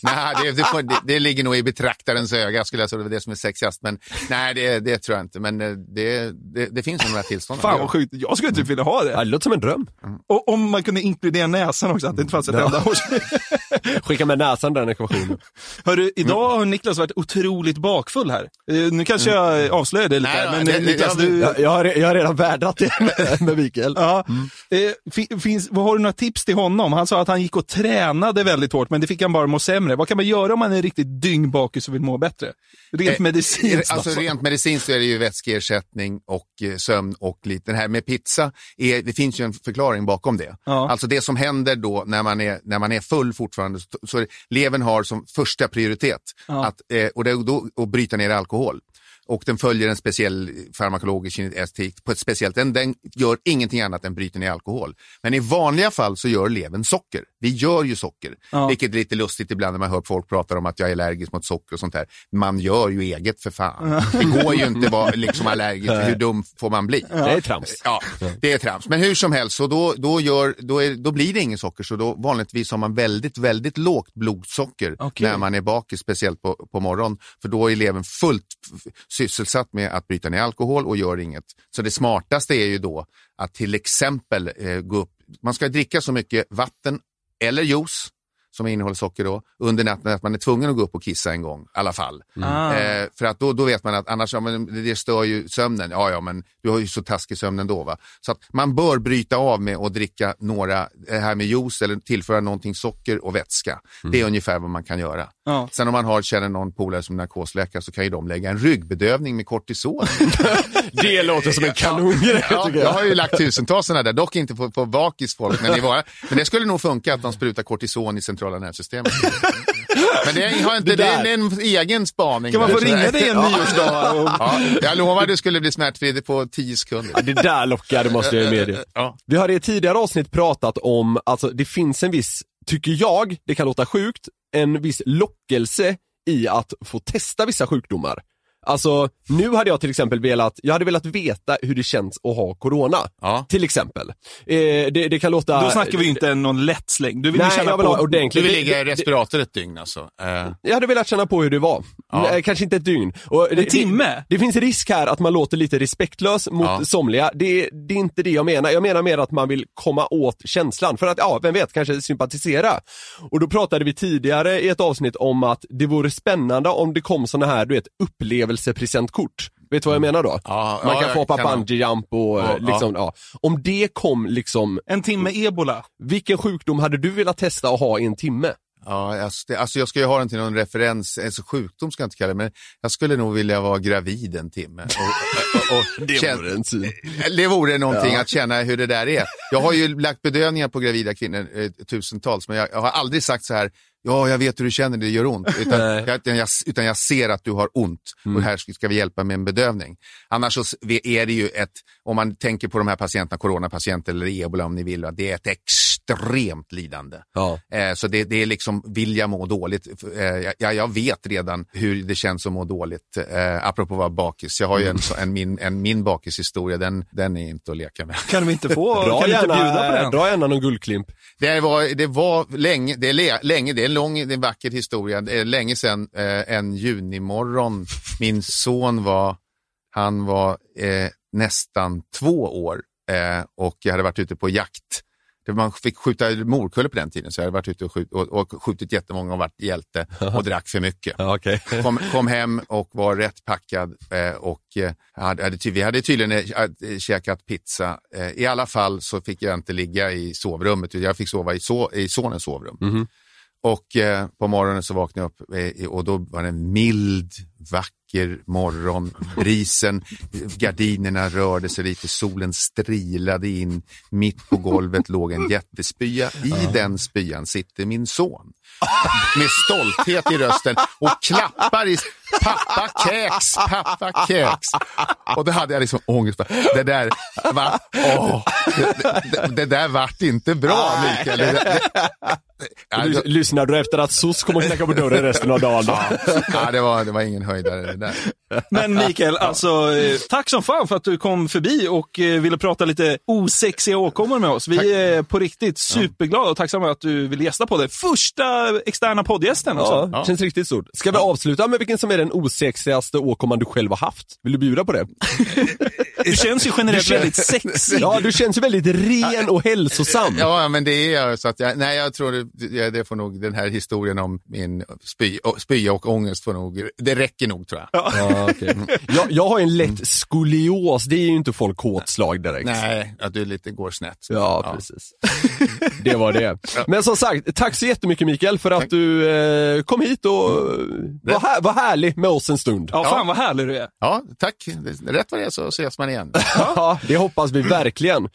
[SPEAKER 11] nej det, det, får, det, det ligger nog i betraktarens öga, skulle jag säga, det är det som är sexigast. Men nej, det, det tror jag inte. Men eh, det, det, det finns nog några tillstånd.
[SPEAKER 5] Fan vad sjukt, jag skulle typ vilja ha
[SPEAKER 4] Ja,
[SPEAKER 5] det.
[SPEAKER 4] det låter som en dröm.
[SPEAKER 5] Och om man kunde inkludera näsan också, att det inte fanns ett enda hår.
[SPEAKER 4] Skicka med näsan den ekvationen.
[SPEAKER 5] Hörru, idag har Niklas varit otroligt bakfull här. Eh, nu kanske jag avslöjar det lite,
[SPEAKER 11] Mm.
[SPEAKER 5] här,
[SPEAKER 11] Nej, då,
[SPEAKER 5] men
[SPEAKER 11] det-
[SPEAKER 5] eh,
[SPEAKER 11] det-
[SPEAKER 5] Niklas,
[SPEAKER 11] jag-
[SPEAKER 5] du...
[SPEAKER 4] Jag, jag, har, re- jag har redan värdat det med, med Mikael.
[SPEAKER 5] Ja.
[SPEAKER 11] Mm.
[SPEAKER 5] Eh, fi- finns, vad har du några tips till honom? Han sa att han gick och tränade väldigt hårt, men det fick han bara må sämre. Vad kan man göra om man är riktigt dyngbakis och vill må bättre? Rent medicinskt
[SPEAKER 11] Alltså, rent medicinskt så är det ju vätskeersättning och eh, sömn och lite, det här med pizza, är, det finns ju en förklaring bakom det.
[SPEAKER 5] Ja.
[SPEAKER 11] Alltså det som händer då när man är, när man är full fortfarande, så, så är- levern har som första prioritet att, eh, och det, då, och bryta ner alkohol. Och den följer en speciell farmakologisk kinetik på ett speciellt, den, den gör ingenting annat än bryter ner alkohol. Men i vanliga fall så gör levern socker. Vi gör ju socker, vilket är lite lustigt ibland när man hör folk prata om att jag är allergisk mot socker och sånt där. Man gör ju eget för fan. Det går ju inte att vara liksom allergisk, hur dum får man bli?
[SPEAKER 4] Det är trams.
[SPEAKER 11] Ja, det är trams. Men hur som helst, så då, då, gör, då, är, då blir det ingen socker. Så då, vanligtvis har man väldigt, väldigt lågt blodsocker
[SPEAKER 5] Okej.
[SPEAKER 11] när man är bakis, speciellt på, på morgonen. För då är levern fullt f- sysselsatt med att bryta ner alkohol och gör inget. Så det smartaste är ju då att till exempel eh, gå upp, man ska dricka så mycket vatten eller juice som innehåller socker då, under natten att man är tvungen att gå upp och kissa en gång i alla fall.
[SPEAKER 5] Ah.
[SPEAKER 11] Eh, för att då, då vet man att annars, ja, men det- det stör ju sömnen. Ja, ja, men du har ju så taskig sömn ändå. Va? Så att man bör bryta av med att dricka några, det här med juice eller tillföra någonting socker och vätska. Det är ungefär vad man kan göra.
[SPEAKER 5] Ja.
[SPEAKER 11] Sen om man har, känner någon polare som narkosläkare så kan ju de lägga en ryggbedövning med kortison.
[SPEAKER 4] Det låter som en kanongrej
[SPEAKER 11] Ja,
[SPEAKER 4] tycker
[SPEAKER 11] jag
[SPEAKER 4] jag.
[SPEAKER 11] har ju lagt tusentals sådana där, dock inte på, på bakis folk. Men, det var, men det skulle nog funka att de sprutar kortison i centrala nervsystemet. Men det, har inte, det,
[SPEAKER 5] Det där.
[SPEAKER 11] det är en egen spaning.
[SPEAKER 5] Kan man
[SPEAKER 11] där,
[SPEAKER 5] få
[SPEAKER 11] så
[SPEAKER 5] ringa
[SPEAKER 11] där.
[SPEAKER 5] dig en
[SPEAKER 11] Ja.
[SPEAKER 5] nyårsdag och-
[SPEAKER 11] Ja, jag lovar du skulle bli smärtfri på tio sekunder.
[SPEAKER 4] Ja, det där lockar, det måste jag ju medge.
[SPEAKER 11] Ja.
[SPEAKER 4] Vi har i ett tidigare avsnitt pratat om, alltså det finns en viss, tycker jag, det kan låta sjukt, en viss lockelse i att få testa vissa sjukdomar. Alltså, nu hade jag till exempel velat, jag hade velat veta hur det känns att ha corona. Till exempel. Eh, det, det kan låta...
[SPEAKER 5] Då snackar vi ju inte någon lätt släng. Du vill ju
[SPEAKER 4] Nej,
[SPEAKER 5] känna
[SPEAKER 4] jag vill
[SPEAKER 5] på...
[SPEAKER 4] ha ordentligt. Du vill ligga i
[SPEAKER 11] respirator ett dygn alltså.
[SPEAKER 4] Jag hade velat känna på hur det var. Nej, kanske inte ett dygn. Och det, timme? Det, det finns risk här att man låter lite respektlös mot
[SPEAKER 11] Ja.
[SPEAKER 4] somliga. Det, det är inte det jag menar. Jag menar mer att man vill komma åt känslan. För att, ja, vem vet, kanske sympatisera. Och då pratade vi tidigare i ett avsnitt om att det vore spännande om det kom såna här, du vet, upplevelsepresentkort. Vet du vad jag menar då? man
[SPEAKER 5] ja,
[SPEAKER 4] kan få
[SPEAKER 5] jag
[SPEAKER 4] hoppa
[SPEAKER 5] kan-
[SPEAKER 4] bungee jump och
[SPEAKER 5] Ja,
[SPEAKER 4] eh, liksom, ja. Om det kom liksom...
[SPEAKER 5] En timme ebola.
[SPEAKER 4] Vilken sjukdom hade du velat testa att ha i en timme?
[SPEAKER 11] Ja, jag, st- alltså jag ska ju ha den till någon referens, alltså sjukdom ska jag inte kalla det, men jag skulle nog vilja vara gravid en timme. Och, och, och,
[SPEAKER 4] Det vore en syn.
[SPEAKER 11] Det vore någonting
[SPEAKER 4] Ja.
[SPEAKER 11] att känna hur det där är. Jag har ju lagt bedövningar på gravida kvinnor eh, tusentals, men jag, jag har aldrig sagt så här, ja jag vet hur du känner, det gör ont. Utan,
[SPEAKER 4] Nej. Mm.
[SPEAKER 11] jag, utan jag, utan jag ser att du har ont och här ska vi hjälpa med en bedövning. Annars så s- är det ju ett, om man tänker på de här patienterna, coronapatienter eller ebola om ni vill, va, det är ett extremt lidande. Eh, Så det, det är liksom, vill jag må dåligt? F- eh, jag- Jag, jag vet redan hur det känns att må dåligt, eh, apropå att vara bakis. Jag har ju en, så- en, min, en min bakishistoria, den, den är inte att leka med.
[SPEAKER 5] Kan vi inte få...
[SPEAKER 4] Dra
[SPEAKER 5] kan vi inte
[SPEAKER 4] gärna-
[SPEAKER 5] bjuda på den?
[SPEAKER 4] Dra gärna någon guldklimp.
[SPEAKER 11] Det var, det var länge, det är le- länge, det är en lång, det är en vacker historia. Det är länge sedan eh, en junimorgon, min son var, han var eh, nästan två år eh, och jag hade varit ute på jakt. Det- Man fick skjuta morkullor på den tiden, så jag hade varit ute och, skjut, och, och skjutit jättemånga och varit hjälte och drack för mycket. Kom, kom hem och var rätt packad eh, och eh, hade, hade, ty- vi hade tydligen eh, eh, käkat pizza. Eh, I alla fall så fick jag inte ligga i sovrummet, utan jag fick sova i, so, i sonens sovrum. Och eh, på morgonen så vaknade jag upp eh, och då var det en mild, vacker morgon. Brisen, gardinerna rörde sig lite, solen strilade in. Mitt på golvet låg en jättespya. I den spyan sitter min son med stolthet i rösten och klappar i pappa kex, pappa kex. Och då hade jag liksom ångest. Det där, va? Åh, det, det, det där vart inte bra Mikael. Det, det,
[SPEAKER 4] Lys- Lyssnar du efter att SOS kommer att knacka på dörren resten av dagen?
[SPEAKER 11] Ja, ja, det, var, det var ingen höjdare det där.
[SPEAKER 5] Men Mikael, alltså, eh, tack som fan för att du kom förbi och eh, ville prata lite osexiga åkommor med oss. Vi är på riktigt superglada och tacksamma att du ville gästa på det. Första externa poddgästen
[SPEAKER 4] Ja,
[SPEAKER 5] också.
[SPEAKER 4] känns riktigt stort. Ska vi avsluta med vilken som är den osexigaste åkomman du själv har haft? Vill du bjuda på det?
[SPEAKER 5] Du känns ju generellt väldigt sexig.
[SPEAKER 4] Ja, du känns ju väldigt ren och hälsosam.
[SPEAKER 11] Ja, men det är jag. Så att jag nej, jag tror det, ja, det får nog, den här historien om min spy, och- spya och ångest får nog, det räcker nog tror jag.
[SPEAKER 4] Ja, okej. jag, jag har en lätt skolios, det är ju inte folk hårtslag direkt.
[SPEAKER 11] Nej, att du lite går snett.
[SPEAKER 4] Ja, precis. Det var det. Men som sagt, tack så jättemycket Mikael för att du eh, kom hit och eh, var, här, var härlig med oss en stund.
[SPEAKER 5] Ja, fan vad härlig du är.
[SPEAKER 11] Ja, tack. Rätt vad det är så ses man igen.
[SPEAKER 4] Ja, det hoppas vi verkligen. Eh,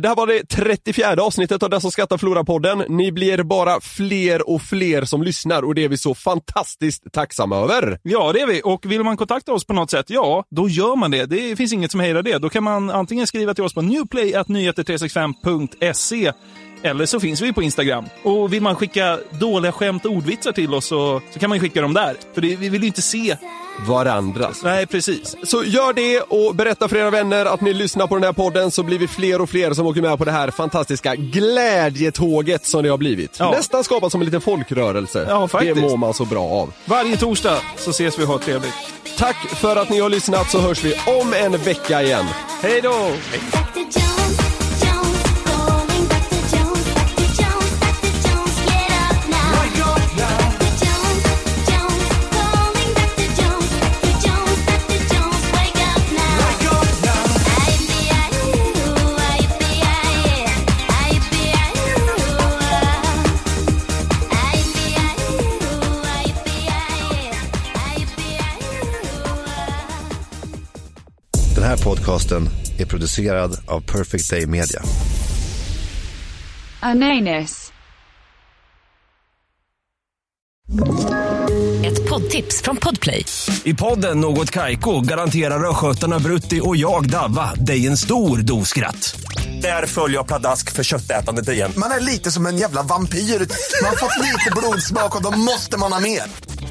[SPEAKER 4] det här var det 34 avsnittet av Den som skrattar förlorar-podden. Ni blir bara fler och fler som lyssnar och det är vi så fantastiskt tacksamma över.
[SPEAKER 5] Ja, det är vi. Och vill man kontakta oss på något sätt, ja, då gör man det. Det finns inget som hejdar det. Då kan man antingen skriva till oss på newplay.nyheter365.se eller så finns vi på Instagram. Och vill man skicka dåliga skämt och ordvitsar till oss så, så kan man ju skicka dem där. För det, vi vill ju inte se.
[SPEAKER 4] Varandras.
[SPEAKER 5] Nej, precis.
[SPEAKER 4] Så gör det och berätta för era vänner att ni lyssnar på den här podden så blir vi fler och fler som åker med på det här fantastiska glädjetåget som det har blivit.
[SPEAKER 5] Ja.
[SPEAKER 4] Nästan skapat som en liten folkrörelse.
[SPEAKER 5] Ja, faktiskt.
[SPEAKER 4] Det mår man så bra av.
[SPEAKER 5] Varje torsdag så ses vi och har trevligt.
[SPEAKER 4] Tack för att ni har lyssnat så hörs vi om en vecka igen.
[SPEAKER 5] Hej då!
[SPEAKER 12] Den här podcasten är producerad av Perfect Day Media.
[SPEAKER 6] Ananus.
[SPEAKER 1] poddtips från Podplay.
[SPEAKER 5] I podden Något Kaiko garanterar östgötarna Brutti och jag, Davva, dig en stor dos skratt. Där följer jag pladask för köttätandet igen.
[SPEAKER 11] Man är lite som en jävla vampyr. Man har fått lite blodsmak och då måste man ha mer.